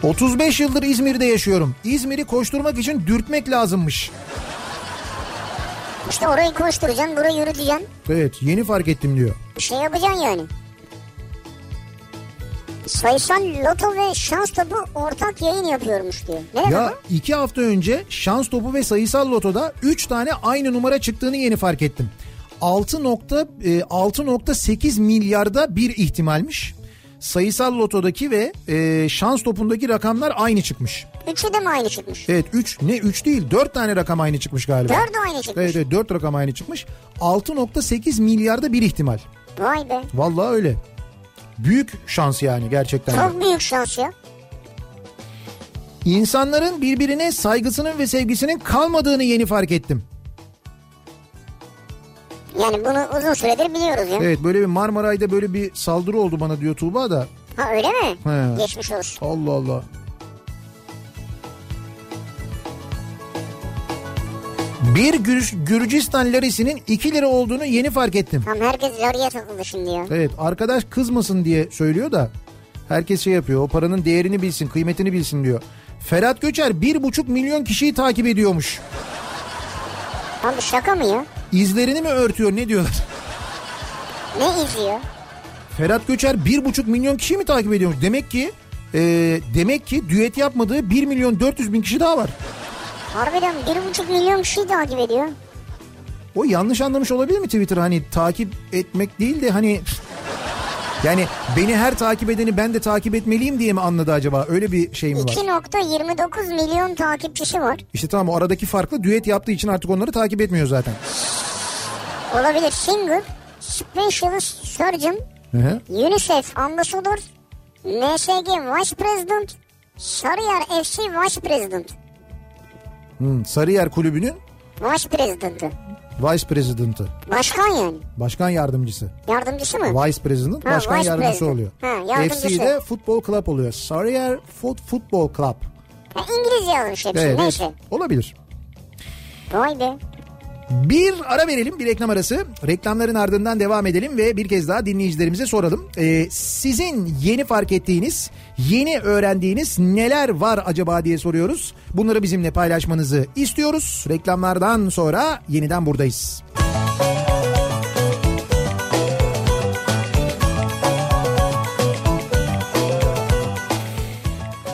35 yıldır İzmir'de yaşıyorum. İzmir'i koşturmak için dürtmek lazımmış. İşte orayı koşturacaksın burayı yürüteceksin. Evet yeni fark ettim diyor. Bir şey yapacaksın yani. Sayısal loto ve şans topu ortak yayın yapıyormuş diyor. Ne demek Ya o? iki hafta önce şans topu ve sayısal lotoda 3 tane aynı numara çıktığını yeni fark ettim. 6 nokta, e, 6.8 milyarda bir ihtimalmiş. Sayısal lotodaki ve e, şans topundaki rakamlar aynı çıkmış. Üçü de mi aynı çıkmış? Evet 3 ne 3 değil 4 tane rakam aynı çıkmış galiba. Dördü aynı çıkmış. Evet evet 4 rakam aynı çıkmış. 6.8 milyarda bir ihtimal. Vay be. Vallahi öyle. Büyük şans yani gerçekten. de. Çok büyük şans ya. İnsanların birbirine saygısının ve sevgisinin kalmadığını yeni fark ettim. Yani bunu uzun süredir biliyoruz ya. Evet böyle bir Marmaray'da böyle bir saldırı oldu bana diyor Tuğba da. Ha öyle mi? He. Geçmiş olsun. Allah Allah. Bir Gür- Gürcistan larisinin 2 lira olduğunu yeni fark ettim. Tam herkes yarıya takıldı şimdi ya. Evet arkadaş kızmasın diye söylüyor da herkes şey yapıyor o paranın değerini bilsin kıymetini bilsin diyor. Ferhat Göçer bir buçuk milyon kişiyi takip ediyormuş. Tam bu şaka mı ya? İzlerini mi örtüyor ne diyorlar? Ne izliyor? Ferhat Göçer bir buçuk milyon kişi mi takip ediyormuş? Demek ki e, demek ki düet yapmadığı 1 milyon 400 bin kişi daha var. Harbiden 1,5 milyon kişi takip ediyor. O yanlış anlamış olabilir mi Twitter? Hani takip etmek değil de hani yani beni her takip edeni ben de takip etmeliyim diye mi anladı acaba? Öyle bir şey mi var? 2.29 milyon takipçisi var. İşte tamam o aradaki farklı düet yaptığı için artık onları takip etmiyor zaten. Olabilir. Single, Specialist Surgeon, Hı hı. UNICEF Ambassador, NSG Vice President, Sarıyer FC Vice President. Hı, Sarıyer Kulübü'nün Vice President'ı. Vice President'ı. Başkan yani. Başkan yardımcısı. Yardımcısı mı? Vice President Ha, başkan Vice yardımcısı President. oluyor. Ha, yardımcısı. FC'de futbol club oluyor. Sarıyer Foot Football Club. Ha, İngilizce yazmış hepsi. Evet, Neyse. Olabilir. Vay be. Bir ara verelim bir reklam arası. Reklamların ardından devam edelim ve bir kez daha dinleyicilerimize soralım. Ee, sizin yeni fark ettiğiniz, yeni öğrendiğiniz neler var acaba diye soruyoruz. Bunları bizimle paylaşmanızı istiyoruz. Reklamlardan sonra yeniden buradayız.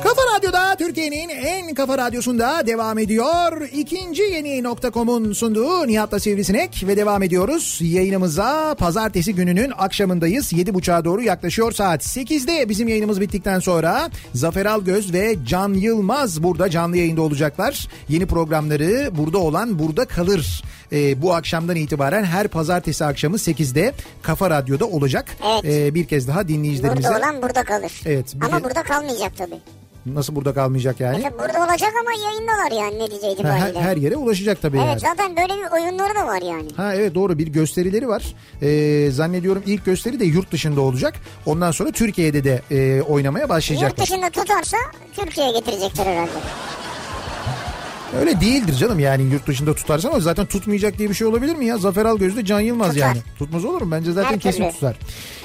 Kafa Radyo'da Türkiye'nin en kafa radyosunda devam ediyor. İkinci yeni nokta.com'un sunduğu Nihat'la Sivrisinek ve devam ediyoruz. Yayınımıza pazartesi gününün akşamındayız. 7.30'a doğru yaklaşıyor saat 8'de bizim yayınımız bittikten sonra Zafer Algöz ve Can Yılmaz burada canlı yayında olacaklar. Yeni programları burada olan burada kalır. Ee, bu akşamdan itibaren her pazartesi akşamı 8'de Kafa Radyo'da olacak. Evet. Ee, bir kez daha dinleyicilerimize Burada olan burada kalır. Evet, bir Ama de- burada kalmayacak tabii. nasıl burada kalmayacak yani? Tabii burada olacak ama yayındalar yani ne diyeceği Ha, Her, itibariyle. her yere ulaşacak tabii Evet yani. zaten böyle bir oyunları da var yani. Ha evet doğru bir gösterileri var. Ee, zannediyorum ilk gösteri de yurt dışında olacak. Ondan sonra Türkiye'de de e, oynamaya Yurt başlayacaklar. dışında tutarsa Türkiye'ye getirecekler herhalde. Öyle değildir canım yani yurt dışında tutarsan o zaten tutmayacak diye bir şey olabilir mi ya? Zafer Algöz'de Can Yılmaz Tutar. yani. Tutmaz olur mu? Bence zaten Her kesin türlü. tutar.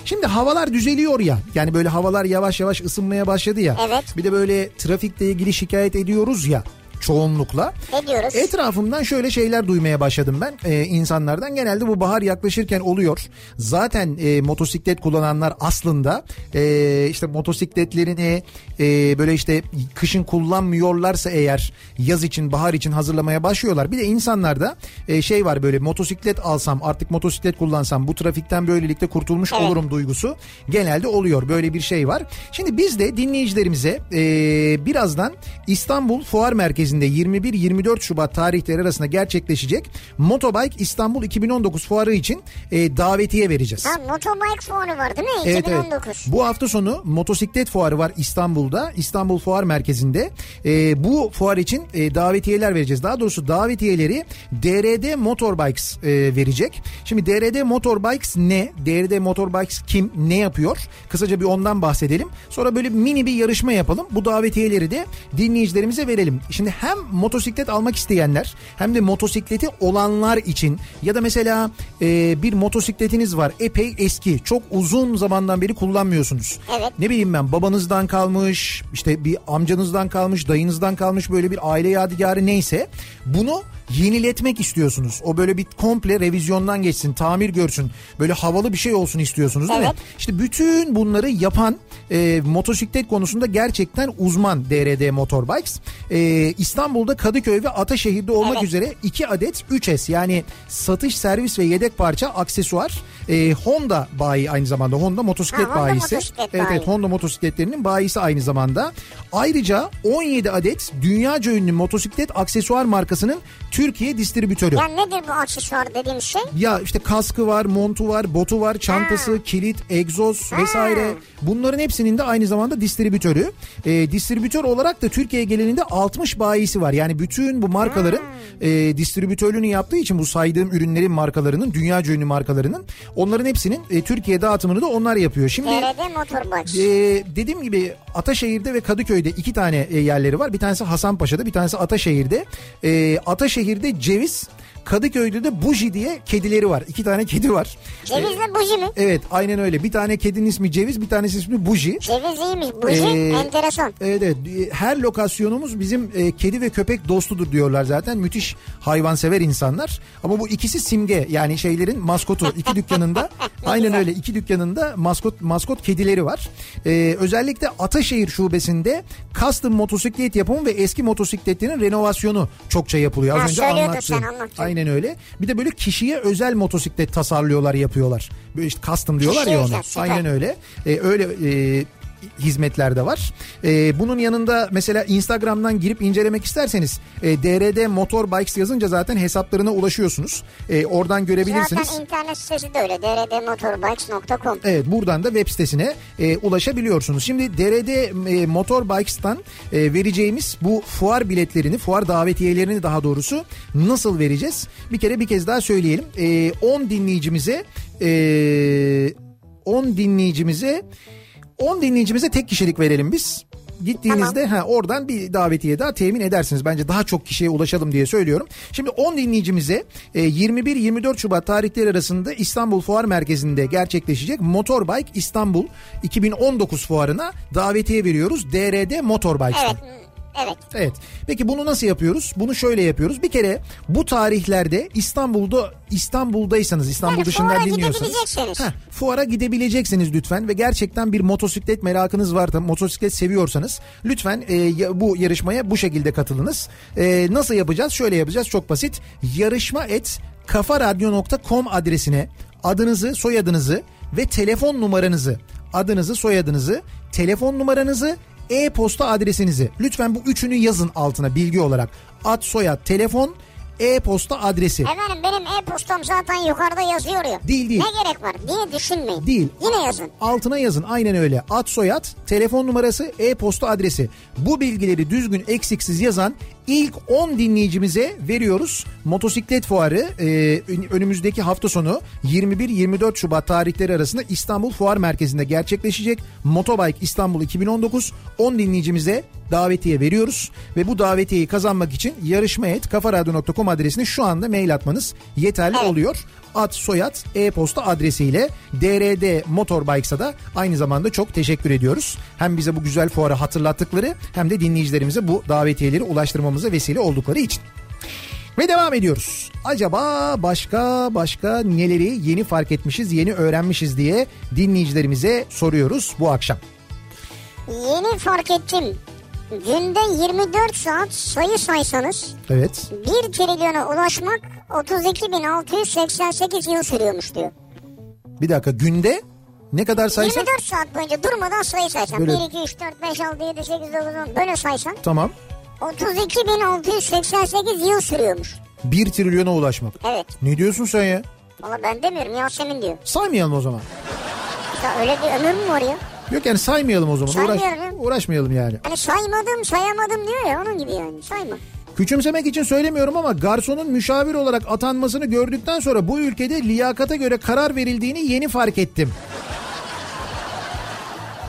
Şimdi havalar düzeliyor ya. Yani böyle havalar yavaş yavaş ısınmaya başladı ya. Evet. Bir de böyle trafikle ilgili şikayet ediyoruz ya. çoğunlukla. E, Ne diyoruz? Etrafımdan şöyle şeyler duymaya başladım ben Ee, insanlardan. Genelde bu bahar yaklaşırken oluyor. Zaten e, motosiklet kullananlar aslında e, işte motosikletlerini e, böyle işte kışın kullanmıyorlarsa eğer yaz için bahar için hazırlamaya başlıyorlar. Bir de insanlarda e, şey var böyle motosiklet alsam artık motosiklet kullansam bu trafikten böylelikle kurtulmuş Evet. olurum duygusu genelde oluyor. Böyle bir şey var. Şimdi biz de dinleyicilerimize e, birazdan İstanbul Fuar Merkezi'nde 21-24 Şubat tarihleri arasında gerçekleşecek Motobike İstanbul 2019 fuarı için e, davetiye vereceğiz. Ha motobike fuarı var değil mi? Evet, evet. 2019. Bu hafta sonu motosiklet fuarı var İstanbul'da. İstanbul Fuar Merkezi'nde. Ee, bu fuar için e, davetiyeler vereceğiz. Daha doğrusu davetiyeleri DRD Motorbikes e, verecek. Şimdi DRD Motorbikes ne? DRD Motorbikes kim? Ne yapıyor? Kısaca bir ondan bahsedelim. Sonra böyle mini bir yarışma yapalım. Bu davetiyeleri de dinleyicilerimize verelim. Şimdi hem motosiklet almak isteyenler hem de motosikleti olanlar için ya da mesela e, bir motosikletiniz var epey eski çok uzun zamandan beri kullanmıyorsunuz. Evet. Ne bileyim ben babanızdan kalmış işte bir amcanızdan kalmış dayınızdan kalmış böyle bir aile yadigarı neyse bunu yeniletmek istiyorsunuz. O böyle bir komple revizyondan geçsin tamir görsün böyle havalı bir şey olsun istiyorsunuz değil mi? Evet. İşte bütün bunları yapan e, motosiklet konusunda gerçekten uzman DRD Motorbikes. E, İstanbul'da Kadıköy ve Ataşehir'de olmak Evet. üzere 2 adet 3S yani satış, servis ve yedek parça aksesuar e, Honda bayi aynı zamanda Honda motosiklet Ha, Honda bayisi. motosiklet evet, evet bayi. Honda motosikletlerinin bayisi aynı zamanda. Ayrıca 17 adet dünyaca ünlü motosiklet aksesuar markasının Türkiye distribütörü. Ya nedir bu aksesuar dediğim şey? Ya işte kaskı var, montu var, botu var, çantası, kilit, egzoz vesaire. Bunların hepsinin de aynı zamanda distribütörü. Ee, distribütör olarak da Türkiye genelinde 60 bayisi var. Yani bütün bu markaların e, distribütörlüğünü yaptığı için bu saydığım ürünlerin markalarının, dünya ünlü markalarının onların hepsinin e, Türkiye dağıtımını da onlar yapıyor. Şimdi DRD motorbike. ee, dediğim gibi Ataşehir'de ve Kadıköy'de iki tane e, yerleri var. Bir tanesi Hasanpaşa'da, bir tanesi Ataşehir'de. Ee, Ataşehir'de ceviz, Kadıköy'de de buji diye kedileri var. İki tane kedi var. Cevizle buji mi? Evet, aynen öyle. Bir tane kedinin ismi ceviz, bir tanesi ismi buji. Ceviz iyiymiş. Buji Ee, enteresan. Evet, evet. Ee, her lokasyonumuz bizim e, kedi ve köpek dostudur diyorlar zaten. Müthiş hayvansever insanlar. Ama bu ikisi simge yani şeylerin maskotu iki <laughs> dükkanında. aynen öyle iki dükkanında maskot maskot kedileri var. Ee, özellikle Ataşehir şubesinde custom motosiklet yapımı ve eski motosikletlerin renovasyonu çokça yapılıyor. Az Ha, önce söylüyordun anlattım. sen, anlattın. Aynen öyle. Bir de böyle kişiye özel motosiklet tasarlıyorlar yapıyorlar. Böyle işte custom diyorlar Kişiye ya özel, ona. süper. Aynen öyle. Ee, öyle e, hizmetler de var. Ee, bunun yanında mesela Instagram'dan girip incelemek isterseniz e, DRD Motorbikes yazınca zaten hesaplarına ulaşıyorsunuz. E, oradan görebilirsiniz. Zaten internet sitesi de öyle. drdmotorbikes.com Evet buradan da web sitesine e, ulaşabiliyorsunuz. Şimdi DRD e, Motorbikes'tan e, vereceğimiz bu fuar biletlerini, fuar davetiyelerini daha doğrusu nasıl vereceğiz? Bir kere bir kez daha söyleyelim. E, 10 dinleyicimize e, 10 dinleyicimize 10 dinleyicimize tek kişilik verelim biz. Gittiğinizde ha, oradan bir davetiye daha temin edersiniz. Bence daha çok kişiye ulaşalım diye söylüyorum. Şimdi 10 dinleyicimize e, 21-24 Şubat tarihleri arasında İstanbul Fuar Merkezi'nde gerçekleşecek Motorbike İstanbul 2019 fuarına davetiye veriyoruz. DRD Motorbike'dan. Evet. Evet. Evet. Peki bunu nasıl yapıyoruz? Bunu şöyle yapıyoruz. Bir kere bu tarihlerde İstanbul'da İstanbul'daysanız, İstanbul Yani dışından fuara dinliyorsanız. gidebileceksiniz. Heh, fuara gidebileceksiniz lütfen ve gerçekten bir motosiklet merakınız varsa, motosiklet seviyorsanız lütfen e, ya- bu yarışmaya bu şekilde katılınız. E, nasıl yapacağız? Şöyle yapacağız. Çok basit. Yarışma et kafaradyo.com adresine adınızı, soyadınızı ve telefon numaranızı, adınızı, soyadınızı, telefon numaranızı e-posta adresinizi lütfen bu üçünü yazın altına bilgi olarak. Ad, soyad, telefon, e-posta adresi. Efendim benim e-postam zaten yukarıda yazıyor ya. Değil, değil. Ne gerek var? Niye düşünmeyin? Değil. Yine yazın. Altına yazın aynen öyle. Ad soyad, telefon numarası, e-posta adresi. Bu bilgileri düzgün eksiksiz yazan ilk 10 dinleyicimize veriyoruz. Motosiklet fuarı e, ön- önümüzdeki hafta sonu 21-24 Şubat tarihleri arasında İstanbul Fuar Merkezi'nde gerçekleşecek. Motobike İstanbul 2019 10 dinleyicimize davetiye veriyoruz. Ve bu davetiyeyi kazanmak için yarışma et kafaradyo.com adresine şu anda mail atmanız yeterli Evet. oluyor. Ad, soyad, e-posta adresiyle DRD Motorbikes'a da aynı zamanda çok teşekkür ediyoruz. Hem bize bu güzel fuarı hatırlattıkları hem de dinleyicilerimize bu davetiyeleri ulaştırmamız buluşmamıza vesile oldukları için. Ve devam ediyoruz. Acaba başka başka neleri yeni fark etmişiz, yeni öğrenmişiz diye dinleyicilerimize soruyoruz bu akşam. Yeni fark ettim. Günde 24 saat sayı saysanız Evet. 1 trilyona ulaşmak 32.688 yıl sürüyormuş diyor. Bir dakika günde ne kadar saysak? 24 saat boyunca durmadan sayı saysan. Böyle- 1, 2, 3, 4, 5, 6, 7, 8, 9, 10 böyle saysan Tamam. 32.688 yıl sürüyormuş. 1 trilyona ulaşmak. Evet. Ne diyorsun sen ya? Valla ben demiyorum Yasemin diyor. Saymayalım o zaman. Ya öyle bir ömür mü var ya? Yok yani saymayalım o zaman. Uğraş- Saymayalım. uğraşmayalım yani. Hani saymadım sayamadım diyor ya onun gibi yani sayma. Küçümsemek için söylemiyorum ama garsonun müşavir olarak atanmasını gördükten sonra bu ülkede liyakata göre karar verildiğini yeni fark ettim.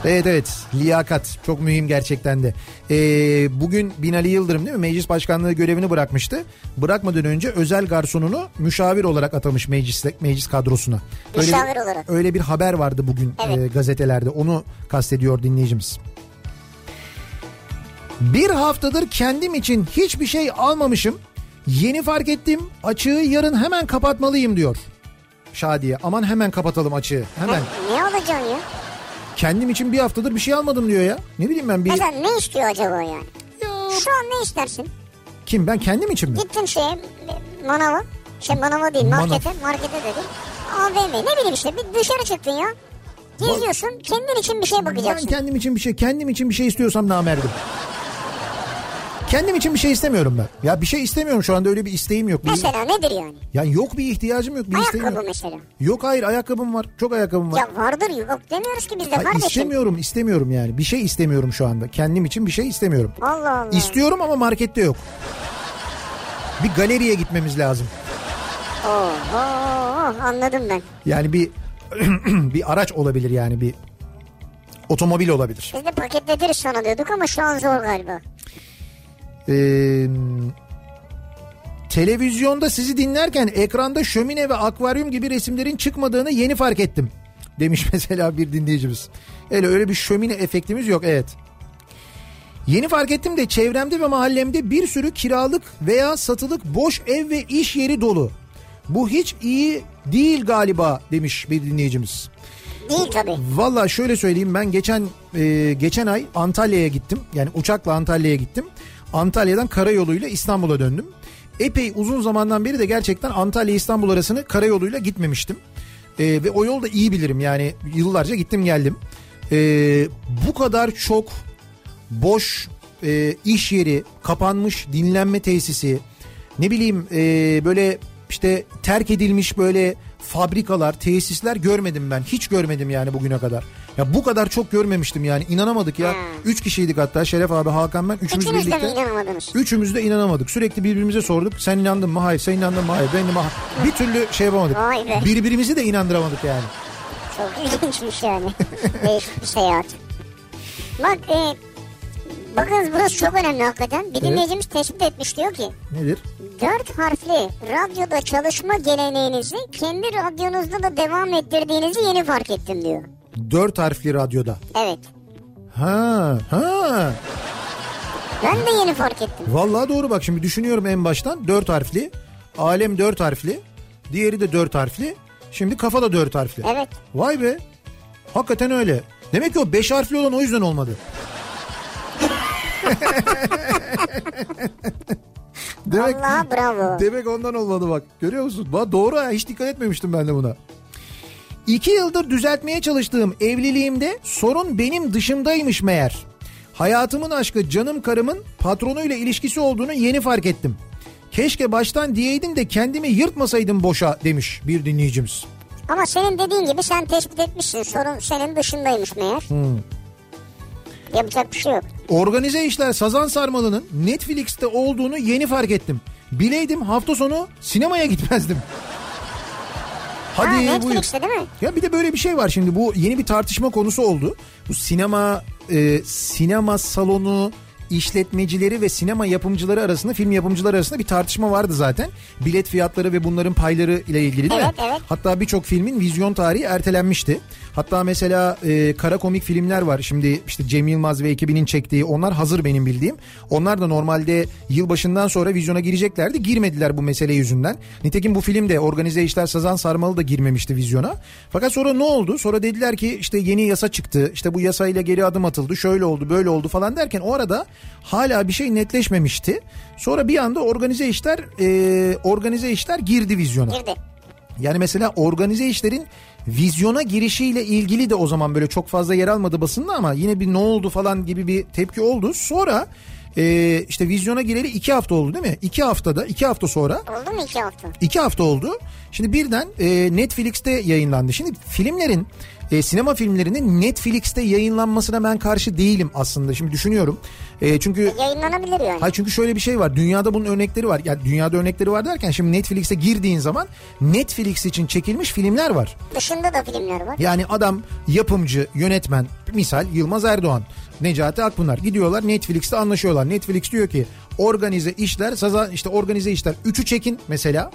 Evet evet liyakat çok mühim gerçekten de. Ee, bugün Binali Yıldırım değil mi meclis başkanlığı görevini bırakmıştı. Bırakmadan önce özel garsonunu müşavir olarak atamış meclis, meclis kadrosuna. Müşavir bir, olarak. Öyle bir haber vardı bugün Evet. e, gazetelerde onu kastediyor dinleyicimiz. Bir haftadır kendim için hiçbir şey almamışım. Yeni fark ettim. Açığı yarın hemen kapatmalıyım diyor. Şadiye aman hemen kapatalım açığı. <laughs> Hemen. Ne alacaksın ya? Kendim için bir haftadır bir şey almadım diyor ya. Ne bileyim ben bir... Mesela ne istiyor acaba yani? Şu an ne istersin? Kim ben kendim için mi? Gittin şeye e, manava. Şey manava değil Manav. markete. Markete dedim. AVM ne bileyim işte bir dışarı çıktın ya. Geziyorsun kendin için bir şey Ben bakacaksın. kendim için bir şey, kendim için bir şey istiyorsam namerdim. Kendim için bir şey istemiyorum ben. Ya bir şey istemiyorum şu anda öyle bir isteğim yok. Bir, Mesela nedir yani? yani yok bir ihtiyacım yok, bir isteğim Ayakkabı yok. mesela. Yok hayır ayakkabım var, çok ayakkabım var. Ya vardır yok demiyoruz ki biz de Hayır, kardeşim. istemiyorum, istemiyorum yani. Bir şey istemiyorum şu anda. Kendim için bir şey istemiyorum. Allah Allah. İstiyorum ama markette yok. Bir galeriye gitmemiz lazım. Oho, anladım ben. Yani bir <clears throat> bir araç olabilir yani bir otomobil olabilir. Biz de paketletiriz sana diyorduk ama şu an zor galiba. Ee, televizyonda sizi dinlerken ekranda şömine ve akvaryum gibi resimlerin çıkmadığını yeni fark ettim. Demiş <laughs> mesela bir dinleyicimiz. Öyle öyle bir şömine efektimiz yok evet. Yeni fark ettim de çevremde ve mahallemde bir sürü kiralık veya satılık boş ev ve iş yeri dolu. Bu hiç iyi değil galiba demiş bir dinleyicimiz. Değil tabii. Valla şöyle söyleyeyim ben geçen e, geçen ay Antalya'ya gittim. Yani uçakla Antalya'ya gittim. Antalya'dan karayoluyla İstanbul'a döndüm. Epey uzun zamandan beri de gerçekten Antalya İstanbul arasını karayoluyla gitmemiştim. E, ve o yolda iyi bilirim yani yıllarca gittim geldim. E, bu kadar çok boş e, iş yeri, kapanmış dinlenme tesisi, ne bileyim e, böyle işte terk edilmiş böyle fabrikalar, tesisler görmedim ben. Hiç görmedim yani bugüne kadar. Ya bu kadar çok görmemiştim yani inanamadık ya. Hmm. Üç kişiydik hatta Şeref abi, Hakan ben. Üçümüz İkiniz de birlikte. mi inanmadınız? Üçümüz de inanamadık. Sürekli birbirimize sorduk. Sen inandın mı? Hayır. Sen inandın mı? Hayır. Ben inanmadım. Bir türlü şey yapamadık. Vay be. Birbirimizi de inandıramadık yani. Çok <laughs> ilginçmiş yani. Değişik bir seyahat. Bak e, bakınız burası çok önemli hakikaten. Bir dinleyicimiz tespit etmiş diyor ki Nedir? dört harfli radyoda çalışma geleneğinizi kendi radyonuzda da devam ettirdiğinizi yeni fark ettim diyor. Dört harfli radyoda. Evet. Ha, ha. Ben de yeni fark ettim. Vallahi doğru bak şimdi düşünüyorum en baştan. Dört harfli. Alem dört harfli. Diğeri de dört harfli. Şimdi kafa da dört harfli. Evet. Vay be. Hakikaten öyle. Demek ki o beş harfli olan o yüzden olmadı. Demek, Vallahi bravo. Demek ondan olmadı bak. Görüyor musun? Va doğru ha hiç dikkat etmemiştim ben de buna. İki yıldır düzeltmeye çalıştığım evliliğimde sorun benim dışımdaymış meğer. Hayatımın aşkı canım karımın patronuyla ilişkisi olduğunu yeni fark ettim. Keşke baştan diyeydim de kendimi yırtmasaydım boşa demiş bir dinleyicimiz. Ama senin dediğin gibi sen tespit etmişsin. Sorun senin dışındaymış meğer. Hmm. Yapacak bir şey yok. Organize işler Sazan Sarmalı'nın Netflix'te olduğunu yeni fark ettim. Bileydim hafta sonu sinemaya gitmezdim. Hadi ha, buyur. Netflix'te değil mi? Ya bir de böyle bir şey var şimdi bu yeni bir tartışma konusu oldu. Bu sinema e, sinema salonu işletmecileri ve sinema yapımcıları arasında film yapımcıları arasında bir tartışma vardı zaten. Bilet fiyatları ve bunların payları ile ilgili değil mi? Evet, evet. Hatta birçok filmin vizyon tarihi ertelenmişti. Hatta mesela e, kara komik filmler var. Şimdi işte Cem Yılmaz ve ekibinin çektiği onlar hazır benim bildiğim. Onlar da normalde yılbaşından sonra vizyona gireceklerdi. Girmediler bu mesele yüzünden. Nitekim bu film de Organize İşler Sazan Sarmalı da girmemişti vizyona. Fakat sonra ne oldu? Sonra dediler ki işte yeni yasa çıktı. İşte bu yasayla geri adım atıldı. Şöyle oldu böyle oldu falan derken o arada hala bir şey netleşmemişti. Sonra bir anda organize işler e, organize işler girdi vizyona. Girdi. Yani mesela organize işlerin vizyona girişiyle ilgili de o zaman böyle çok fazla yer almadı basında ama yine bir ne oldu falan gibi bir tepki oldu. Sonra e, işte vizyona gireli iki hafta oldu değil mi? İki haftada iki hafta sonra Oldu mu iki hafta? iki hafta oldu. Şimdi birden e, Netflix'te yayınlandı. Şimdi filmlerin e, sinema filmlerinin Netflix'te yayınlanmasına ben karşı değilim aslında. Şimdi düşünüyorum. E, çünkü Yayınlanabilir yani. Hayır çünkü şöyle bir şey var. Dünyada bunun örnekleri var. Yani dünyada örnekleri var derken şimdi Netflix'e girdiğin zaman Netflix için çekilmiş filmler var. Dışında da filmler var. Yani adam yapımcı, yönetmen, misal Yılmaz Erdoğan, Necati Akpınar gidiyorlar Netflix'te anlaşıyorlar. Netflix diyor ki organize işler, saza, işte organize işler 3'ü çekin mesela.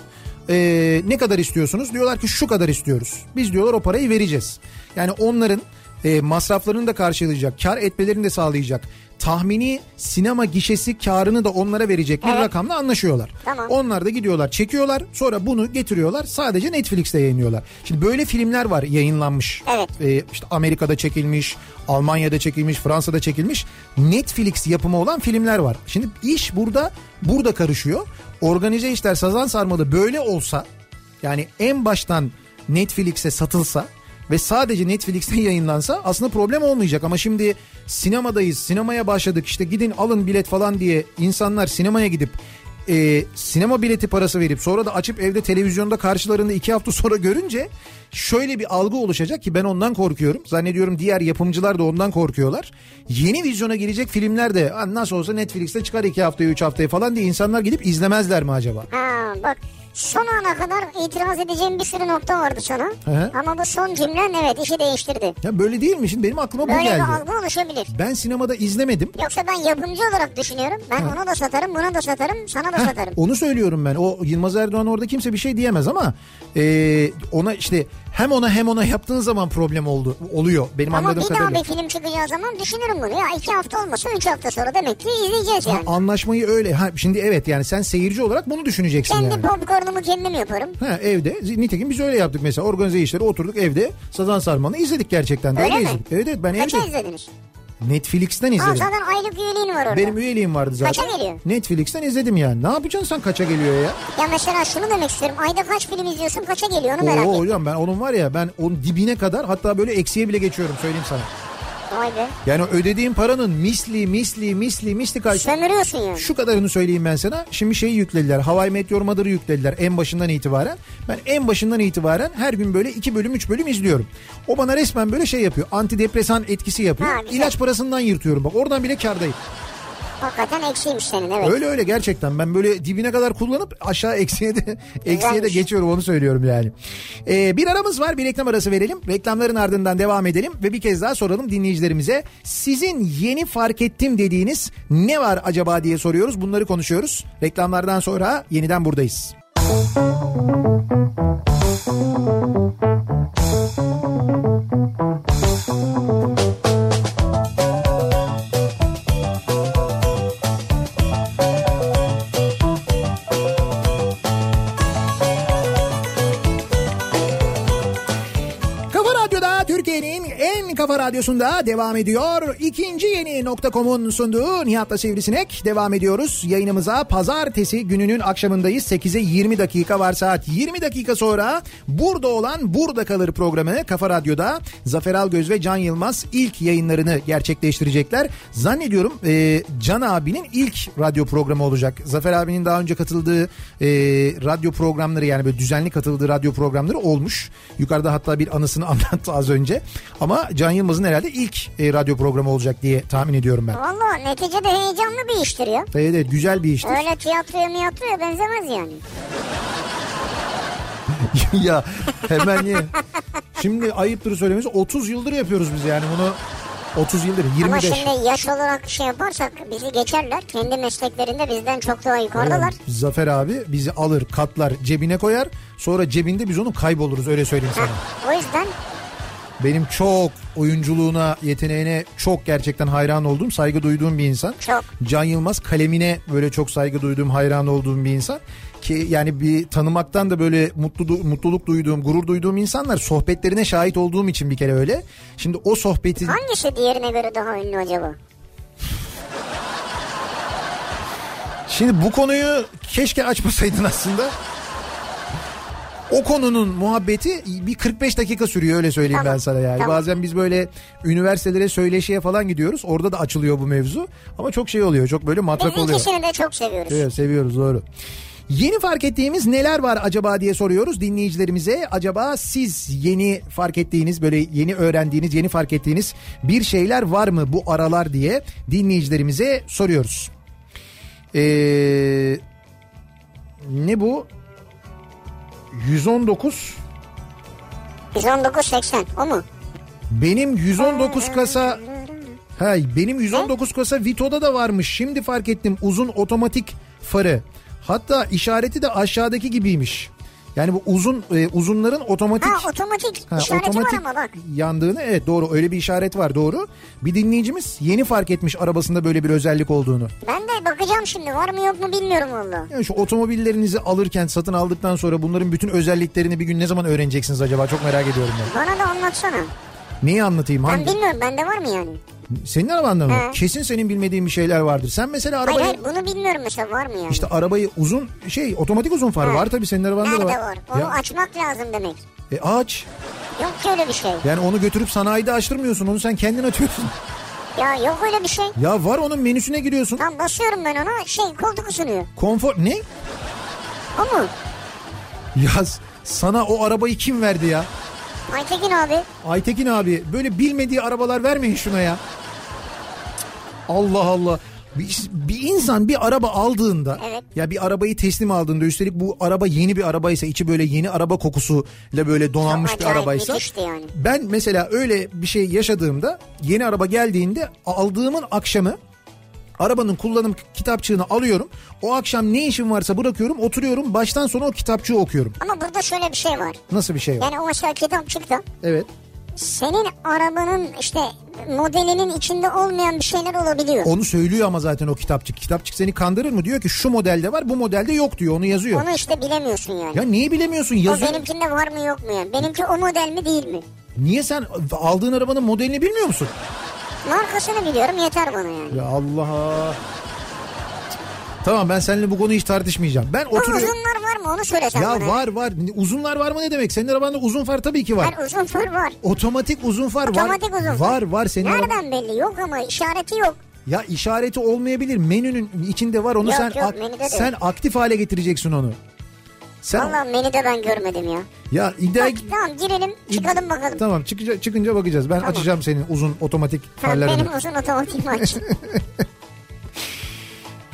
Ee, ne kadar istiyorsunuz? Diyorlar ki şu kadar istiyoruz. Biz diyorlar o parayı vereceğiz. Yani onların e, masraflarını da karşılayacak, kar etmelerini de sağlayacak. Tahmini sinema gişesi karını da onlara verecek bir rakamla anlaşıyorlar. Tamam. Onlar da gidiyorlar çekiyorlar sonra bunu getiriyorlar sadece Netflix'te yayınlıyorlar. Şimdi böyle filmler var yayınlanmış. Evet. Ee, işte Amerika'da çekilmiş, Almanya'da çekilmiş, Fransa'da çekilmiş Netflix yapımı olan filmler var. Şimdi iş burada burada karışıyor. Organize işler Sazan Sarmalı böyle olsa yani en baştan Netflix'e satılsa ve sadece Netflix'te <laughs> yayınlansa aslında problem olmayacak ama şimdi sinemadayız sinemaya başladık işte gidin alın bilet falan diye insanlar sinemaya gidip e, sinema bileti parası verip sonra da açıp evde televizyonda karşılarında iki hafta sonra görünce şöyle bir algı oluşacak ki ben ondan korkuyorum. Zannediyorum diğer yapımcılar da ondan korkuyorlar. Yeni vizyona gelecek filmler de "Ha, nasıl olsa Netflix'te çıkar iki haftaya üç haftaya falan diye insanlar gidip izlemezler mi acaba? Ha bak son ana kadar itiraz edeceğim bir sürü nokta vardı sana. hı. Ama bu son cümlen evet işi değiştirdi. Ya böyle değil mi? Şimdi benim aklıma bu Böyle bir geldi. algı oluşabilir. Ben sinemada izlemedim. Yoksa ben yapımcı olarak düşünüyorum. Ben ona da satarım, buna da satarım, sana da satarım. Onu söylüyorum ben. O Yılmaz Erdoğan orada kimse bir şey diyemez ama e, ona işte hem ona hem ona yaptığın zaman problem oldu oluyor benim Ama bir anladığım kadarıyla. daha bir film çıkacağı zaman düşünürüm bunu. Ya iki hafta olmasa üç hafta sonra demek ki izleyeceğiz yani. Anlaşmayı öyle. Ha, şimdi evet yani sen seyirci olarak bunu düşüneceksin Kendi yani. popcornumu kendim yaparım. Ha, evde nitekim biz öyle yaptık mesela organize işleri oturduk evde Sazan Sarman'ı izledik gerçekten de Öyle mi? izledik. Evet evet ben Kaça evde izlediniz? Netflix'ten Aa, izledim. zaten aylık üyeliğin var orada. Benim üyeliğim vardı zaten. Kaça geliyor? Netflix'ten izledim yani. Ne yapacaksın sen kaça geliyor ya? Ya mesela şunu demek istiyorum. Ayda kaç film izliyorsun, kaça geliyor onu merak Oo ettim. hocam ben onun var ya ben onun dibine kadar hatta böyle eksiye bile geçiyorum söyleyeyim sana. Vay be. Yani ödediğim paranın misli misli misli misli karşı Sömürüyorsun yani. Şu kadarını söyleyeyim ben sana. Şimdi şeyi yüklediler. Hawaii Meteor Mother'ı yüklediler en başından itibaren. Ben en başından itibaren her gün böyle 2 bölüm 3 bölüm izliyorum. O bana resmen böyle şey yapıyor. Antidepresan etkisi yapıyor. Ha, güzel. İlaç parasından yırtıyorum bak. Oradan bile kardayım. Hakikaten eksiymiş senin evet. Öyle öyle gerçekten. Ben böyle dibine kadar kullanıp aşağı eksiye de, eksiye de Güzelmiş. geçiyorum onu söylüyorum yani. Ee, bir aramız var. Bir reklam arası verelim. Reklamların ardından devam edelim ve bir kez daha soralım dinleyicilerimize. Sizin yeni fark ettim dediğiniz ne var acaba diye soruyoruz. Bunları konuşuyoruz. Reklamlardan sonra yeniden buradayız. Kafa Radyo'da Türkiye'nin en kafa radyosunda devam ediyor. İkinci yeni nokta.com'un sunduğu Nihat'la Sivrisinek devam ediyoruz. Yayınımıza pazartesi gününün akşamındayız. 8'e 20 dakika var saat. 20 dakika sonra burada olan Burada Kalır programı Kafa Radyo'da Zafer Algöz ve Can Yılmaz ilk yayınlarını gerçekleştirecekler. Zannediyorum e, Can abinin ilk radyo programı olacak. Zafer abinin daha önce katıldığı e, radyo programları yani böyle düzenli katıldığı radyo programları olmuş. Yukarıda hatta bir anısını <laughs> anlattı az önce. Ama Can Yılmaz'ın herhalde ilk e, radyo programı olacak diye tahmin ediyorum ben. Valla neticede heyecanlı bir iştir ya. Evet evet, güzel bir işti. <laughs> Öyle tiyatroya miyatroya benzemez yani. ya hemen ye. Şimdi ayıptır söylemesi 30 yıldır yapıyoruz biz yani bunu. 30 yıldır 25. Ama şimdi yaş olarak şey yaparsak bizi geçerler. Kendi mesleklerinde bizden çok daha yukarıdalar. Zafer abi bizi alır <laughs> katlar cebine koyar sonra cebinde biz onu kayboluruz öyle söyleyeyim sana. O yüzden Benim çok oyunculuğuna, yeteneğine çok gerçekten hayran olduğum, saygı duyduğum bir insan. Çok. Can Yılmaz kalemine böyle çok saygı duyduğum, hayran olduğum bir insan. Ki yani bir tanımaktan da böyle mutlu, mutluluk duyduğum, gurur duyduğum insanlar sohbetlerine şahit olduğum için bir kere öyle. Şimdi o sohbetin... Hangisi diğerine göre daha ünlü acaba? Şimdi bu konuyu keşke açmasaydın aslında. O konunun muhabbeti bir 45 dakika sürüyor öyle söyleyeyim Tamam, ben sana yani. tamam. Bazen biz böyle üniversitelere söyleşiye falan gidiyoruz. Orada da açılıyor bu mevzu. Ama çok şey oluyor. Çok böyle Biz matrak oluyor. ikisini de çok seviyoruz. Evet, seviyoruz doğru. Yeni fark ettiğimiz neler var acaba diye soruyoruz dinleyicilerimize. Acaba siz yeni fark ettiğiniz böyle yeni öğrendiğiniz yeni fark ettiğiniz bir şeyler var mı bu aralar diye dinleyicilerimize soruyoruz. Ee, ne bu? 119 119 80 o mu? benim Ee. 119 kasa ha benim 119 kasa Vito'da da varmış. Şimdi fark ettim uzun otomatik farı. Hatta işareti de aşağıdaki gibiymiş. Yani bu uzun e, uzunların otomatik Ha otomatik Ha, işareti var ama bak. yandığını evet doğru öyle bir işaret var doğru. Bir dinleyicimiz yeni fark etmiş arabasında böyle bir özellik olduğunu. Ben de bakacağım şimdi var mı yok mu bilmiyorum valla. Yani şu otomobillerinizi alırken satın aldıktan sonra bunların bütün özelliklerini bir gün ne zaman öğreneceksiniz acaba çok merak ediyorum ben. Bana da anlatsana. Neyi anlatayım Ben hangi? bilmiyorum bende var mı yani? Senin arabanda mı? He. Kesin senin bilmediğin bir şeyler vardır. Sen mesela Hayır arabayı hayır bunu bilmiyorum mesela var mı yani? işte arabayı uzun şey otomatik uzun far He. var tabii senin arabanda Nerede da var? var. Onu Ya, açmak lazım demek. e, aç. Yok ki öyle bir şey. Yani onu götürüp sanayide açtırmıyorsun. Onu sen kendin açıyorsun. Ya yok öyle bir şey. <laughs> ya var onun menüsüne giriyorsun. Lan basıyorum ben ona şey koltuk ısınıyor. Konfor ne? O mu? Yaz. Sana o arabayı kim verdi ya? Aytekin abi. Aytekin abi böyle bilmediği arabalar vermeyin şuna ya. Allah Allah. Bir, bir insan bir araba aldığında Evet. ya bir arabayı teslim aldığında üstelik bu araba yeni bir arabaysa içi böyle yeni araba kokusuyla böyle donanmış Çok bir acayip arabaysa müthişti yani. ben mesela öyle bir şey yaşadığımda yeni araba geldiğinde aldığımın akşamı arabanın kullanım kitapçığını alıyorum. O akşam ne işim varsa bırakıyorum oturuyorum baştan sona o kitapçığı okuyorum. Ama burada şöyle bir şey var. Nasıl bir şey var? Yani o aşağı kitap çıktı. Evet. Senin arabanın işte modelinin içinde olmayan bir şeyler olabiliyor. Onu söylüyor ama zaten o kitapçık. Kitapçık seni kandırır mı? Diyor ki şu modelde var bu modelde yok diyor onu yazıyor. Onu işte bilemiyorsun yani. Ya niye bilemiyorsun o yazıyor. benimkinde var mı yok mu yani? Benimki o model mi değil mi? Niye sen aldığın arabanın modelini bilmiyor musun? Markasını biliyorum yeter bana yani. Ya Allah. Tamam ben seninle bu konuyu hiç tartışmayacağım. Ben Bu oturuyorum. uzunlar var mı onu söyle sen Ya bana. var var. Uzunlar var mı ne demek? Senin arabanda uzun far tabii ki var. Yani uzun fır var. Otomatik uzun far Otomatik var. uzun Var far. var senin araba- Nereden belli? Yok ama işareti yok. Ya işareti olmayabilir. Menünün içinde var onu Yok, sen yok, menüde de yok. sen aktif hale getireceksin onu. Sen Valla menü de ben görmedim ya. ya iddia Bak, tamam girelim çıkalım bakalım. Tamam çıkınca, çıkınca bakacağız. Ben açacağım senin uzun otomatik Tamam, farlarını. benim uzun <laughs> otomatik maç.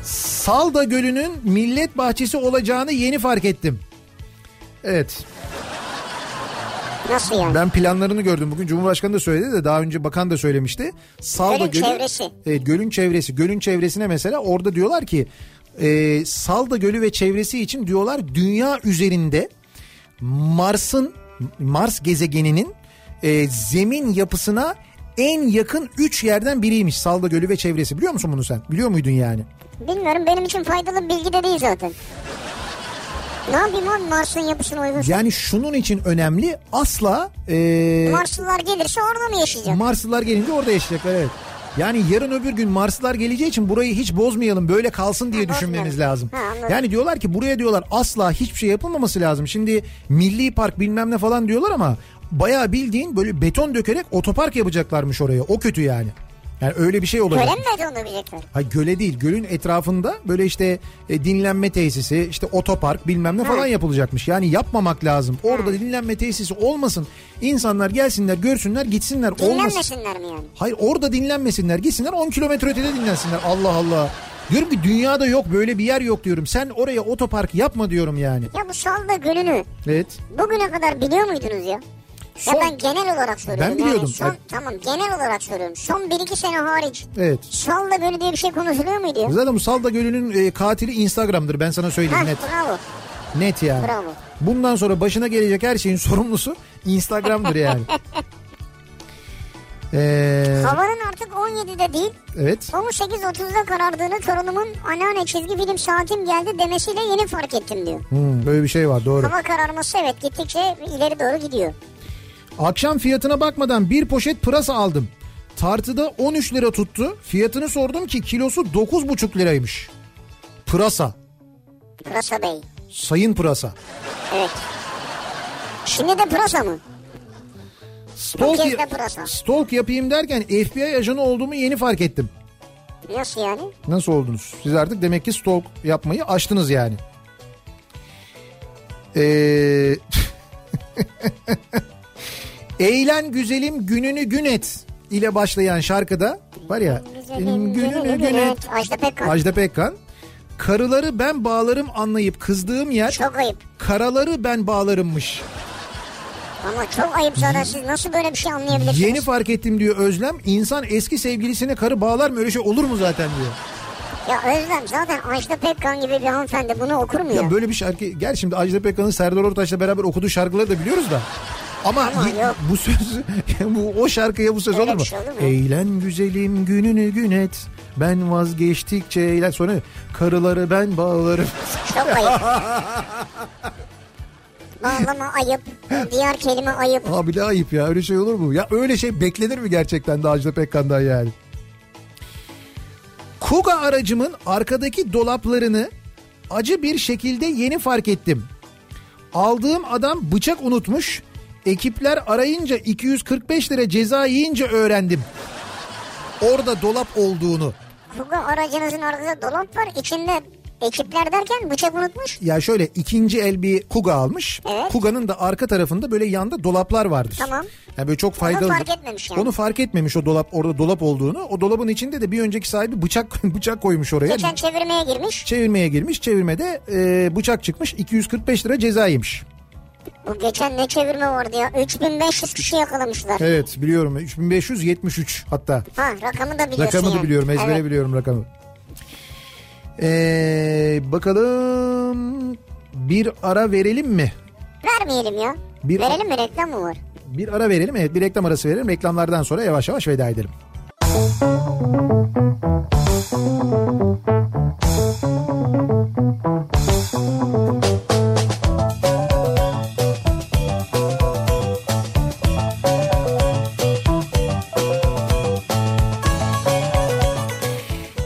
Salda Gölü'nün millet bahçesi olacağını yeni fark ettim. Evet Nasıl yani? ben planlarını gördüm bugün Cumhurbaşkanı da söyledi de daha önce bakan da söylemişti. Salda Gölün Gölü, çevresi. Evet gölün çevresi. Gölün çevresine mesela orada diyorlar ki e, Salda Gölü ve çevresi için diyorlar dünya üzerinde Mars'ın Mars gezegeninin e, zemin yapısına en yakın 3 yerden biriymiş Salda Gölü ve çevresi. Biliyor musun bunu sen? Biliyor muydun yani? Bilmiyorum benim için faydalı bilgi de değil zaten. Ne yapayım abi Mars'ın yapısına uygun. Yani şunun için önemli asla e, Marslılar gelirse orada mı yaşayacak? Marslılar gelince orada yaşayacaklar evet. Yani yarın öbür gün Marslılar geleceği için burayı hiç bozmayalım böyle kalsın diye Ha, düşünmeniz bozmayalım. lazım. Ha, anladım. yani diyorlar ki buraya diyorlar asla hiçbir şey yapılmaması lazım. Şimdi milli park bilmem ne falan diyorlar ama bayağı bildiğin böyle beton dökerek otopark yapacaklarmış oraya. O kötü yani. Yani öyle bir şey olabilir. Göle mi beton dökecekler? Hayır göle değil gölün etrafında böyle işte e, dinlenme tesisi işte otopark bilmem ne falan yapılacakmış. Yani yapmamak lazım. Orada dinlenme tesisi olmasın. İnsanlar gelsinler görsünler gitsinler. Olmasın. Dinlenmesinler mi yani? Hayır orada dinlenmesinler gitsinler 10 kilometre ötede dinlensinler Allah Allah. Diyorum ki dünyada yok böyle bir yer yok diyorum. Sen oraya otopark yapma diyorum yani. Ya bu Salda Gölü'nü Evet. bugüne kadar biliyor muydunuz ya? Son- Ya ben genel olarak soruyorum. Ben biliyordum. Yani son, Evet. Tamam genel olarak soruyorum. Son 1-2 sene hariç Evet. Salda Gölü diye bir şey konuşuluyor muydu ya? Zaten bu Salda Gölü'nün e, katili Instagram'dır ben sana Ha, söyleyeyim net. bravo. Net yani. Bravo. Bundan sonra başına gelecek her şeyin sorumlusu Instagram'dır yani. Ee, Havanın artık 17'de değil evet. 18.30'da karardığını torunumun anneanne çizgi film saatim geldi demesiyle yeni fark ettim diyor. Hmm, böyle bir şey var doğru. Hava kararması evet gittikçe ileri doğru gidiyor. Akşam fiyatına bakmadan bir poşet pırasa aldım. Tartıda 13 lira tuttu. Fiyatını sordum ki kilosu 9,5 liraymış. Pırasa. Pırasa Bey. Sayın pırasa. Evet. Şimdi de pırasa mı? Bu Stalk, kez ya- de pırasa. stalk yapayım derken FBI ajanı olduğumu yeni fark ettim. Nasıl yani? Nasıl oldunuz? Siz artık demek ki stalk yapmayı aştınız yani. Ee... <laughs> Eğlen güzelim gününü gün et ile başlayan şarkıda var ya benim gününü gün et. Evet, Ajda Pekkan. Ajda Pekkan. Karıları ben bağlarım anlayıp kızdığım yer Çok ayıp. karaları ben bağlarımmış. Ama çok ayıp sonra siz nasıl böyle bir şey anlayabilirsiniz? Yeni fark ettim diyor Özlem. İnsan eski sevgilisine karı bağlar mı öyle şey olur mu zaten diyor. Ya Özlem zaten Ajda Pekkan gibi bir hanımefendi bunu okur mu ya? Ya böyle bir şarkı gel şimdi Ajda Pekkan'ın Serdar Ortaç'la beraber okuduğu şarkıları da biliyoruz da. Ama, Ama y- yok. bu söz <laughs> bu o şarkıya bu söz Öyle olur bir mu? şey olur mu? Eğlen güzelim gününü gün et. Ben vazgeçtikçe eğlen sonra karıları ben bağlarım. Çok <laughs> ayıp. Bağlama ayıp. Diğer kelime ayıp. Abi ne ayıp ya öyle şey olur mu? Ya öyle şey beklenir mi gerçekten de Ajda Pekkan'dan yani? Kuga aracımın arkadaki dolaplarını acı bir şekilde yeni fark ettim. Aldığım adam bıçak unutmuş. Ekipler arayınca 245 lira ceza yiyince öğrendim. Orada dolap olduğunu. Kuga aracınızın arkasında dolap var. İçinde ekipler derken bıçak unutmuş. Ya şöyle ikinci el bir Kuga almış. Evet. Kuga'nın da arka tarafında böyle yanda dolaplar vardır. Tamam. Yani böyle çok faydalı. fark etmemiş yani. Onu fark etmemiş o dolap orada dolap olduğunu. O dolabın içinde de bir önceki sahibi bıçak <laughs> bıçak koymuş oraya. Geçen çevirmeye girmiş. Çevirmeye girmiş. Çevirmede e, bıçak çıkmış. 245 lira ceza yemiş. Bu geçen ne çevirme vardı ya? 3500 kişi yakalamışlar. Evet biliyorum. 3573 hatta. Ha rakamı da biliyorsun Rakamı da yani. biliyorum. Ezbere Evet. biliyorum rakamı. Ee, bakalım bir ara verelim mi? Vermeyelim ya. Bir- Verelim mi reklam mı var? Bir ara verelim. Evet bir reklam arası verelim. Reklamlardan sonra yavaş yavaş veda edelim.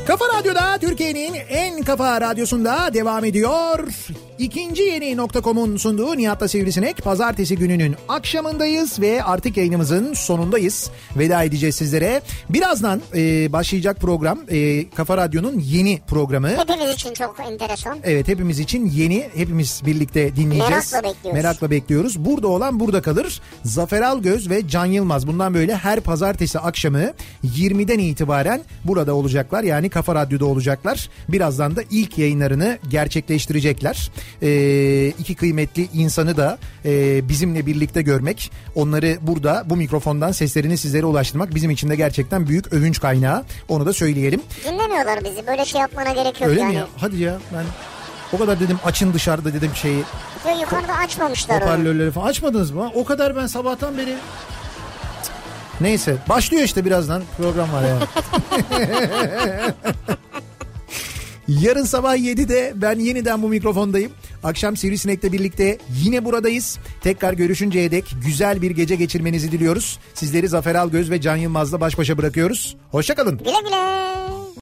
Kafa Radyo'da Türkiye'nin en kafa radyosunda devam ediyor. İkinci yeni nokta.com'un sunduğu Nihat'la Sivrisinek pazartesi gününün akşamındayız ve artık yayınımızın sonundayız. Veda edeceğiz sizlere. Birazdan e, başlayacak program e, Kafa Radyo'nun yeni programı. Hepimiz için çok enteresan. Evet hepimiz için yeni hepimiz birlikte dinleyeceğiz. Merakla bekliyoruz. Merakla bekliyoruz. Burada olan burada kalır. Zafer Algöz ve Can Yılmaz bundan böyle her pazartesi akşamı 20'den itibaren burada olacaklar. Yani Kafa Radyo'da olacaklar. Birazdan da ilk yayınlarını gerçekleştirecekler. Ee, iki kıymetli insanı da e, bizimle birlikte görmek, onları burada bu mikrofondan seslerini sizlere ulaştırmak bizim için de gerçekten büyük övünç kaynağı. Onu da söyleyelim. Dinlemiyorlar bizi. Böyle şey yapmana gerek yok Öyle yani. mi ya? Hadi ya ben o kadar dedim açın dışarıda dedim şeyi Yo, yukarıda açmamışlar onu. hoparlörleri falan açmadınız mı? O kadar ben sabahtan beri Neyse başlıyor işte birazdan program var <laughs> yani. Yarın sabah 7'de ben yeniden bu mikrofondayım. Akşam Sivrisinek'le birlikte yine buradayız. Tekrar görüşünceye dek güzel bir gece geçirmenizi diliyoruz. Sizleri Zafer Algöz ve Can Yılmaz'la baş başa bırakıyoruz. Hoşçakalın. Güle güle.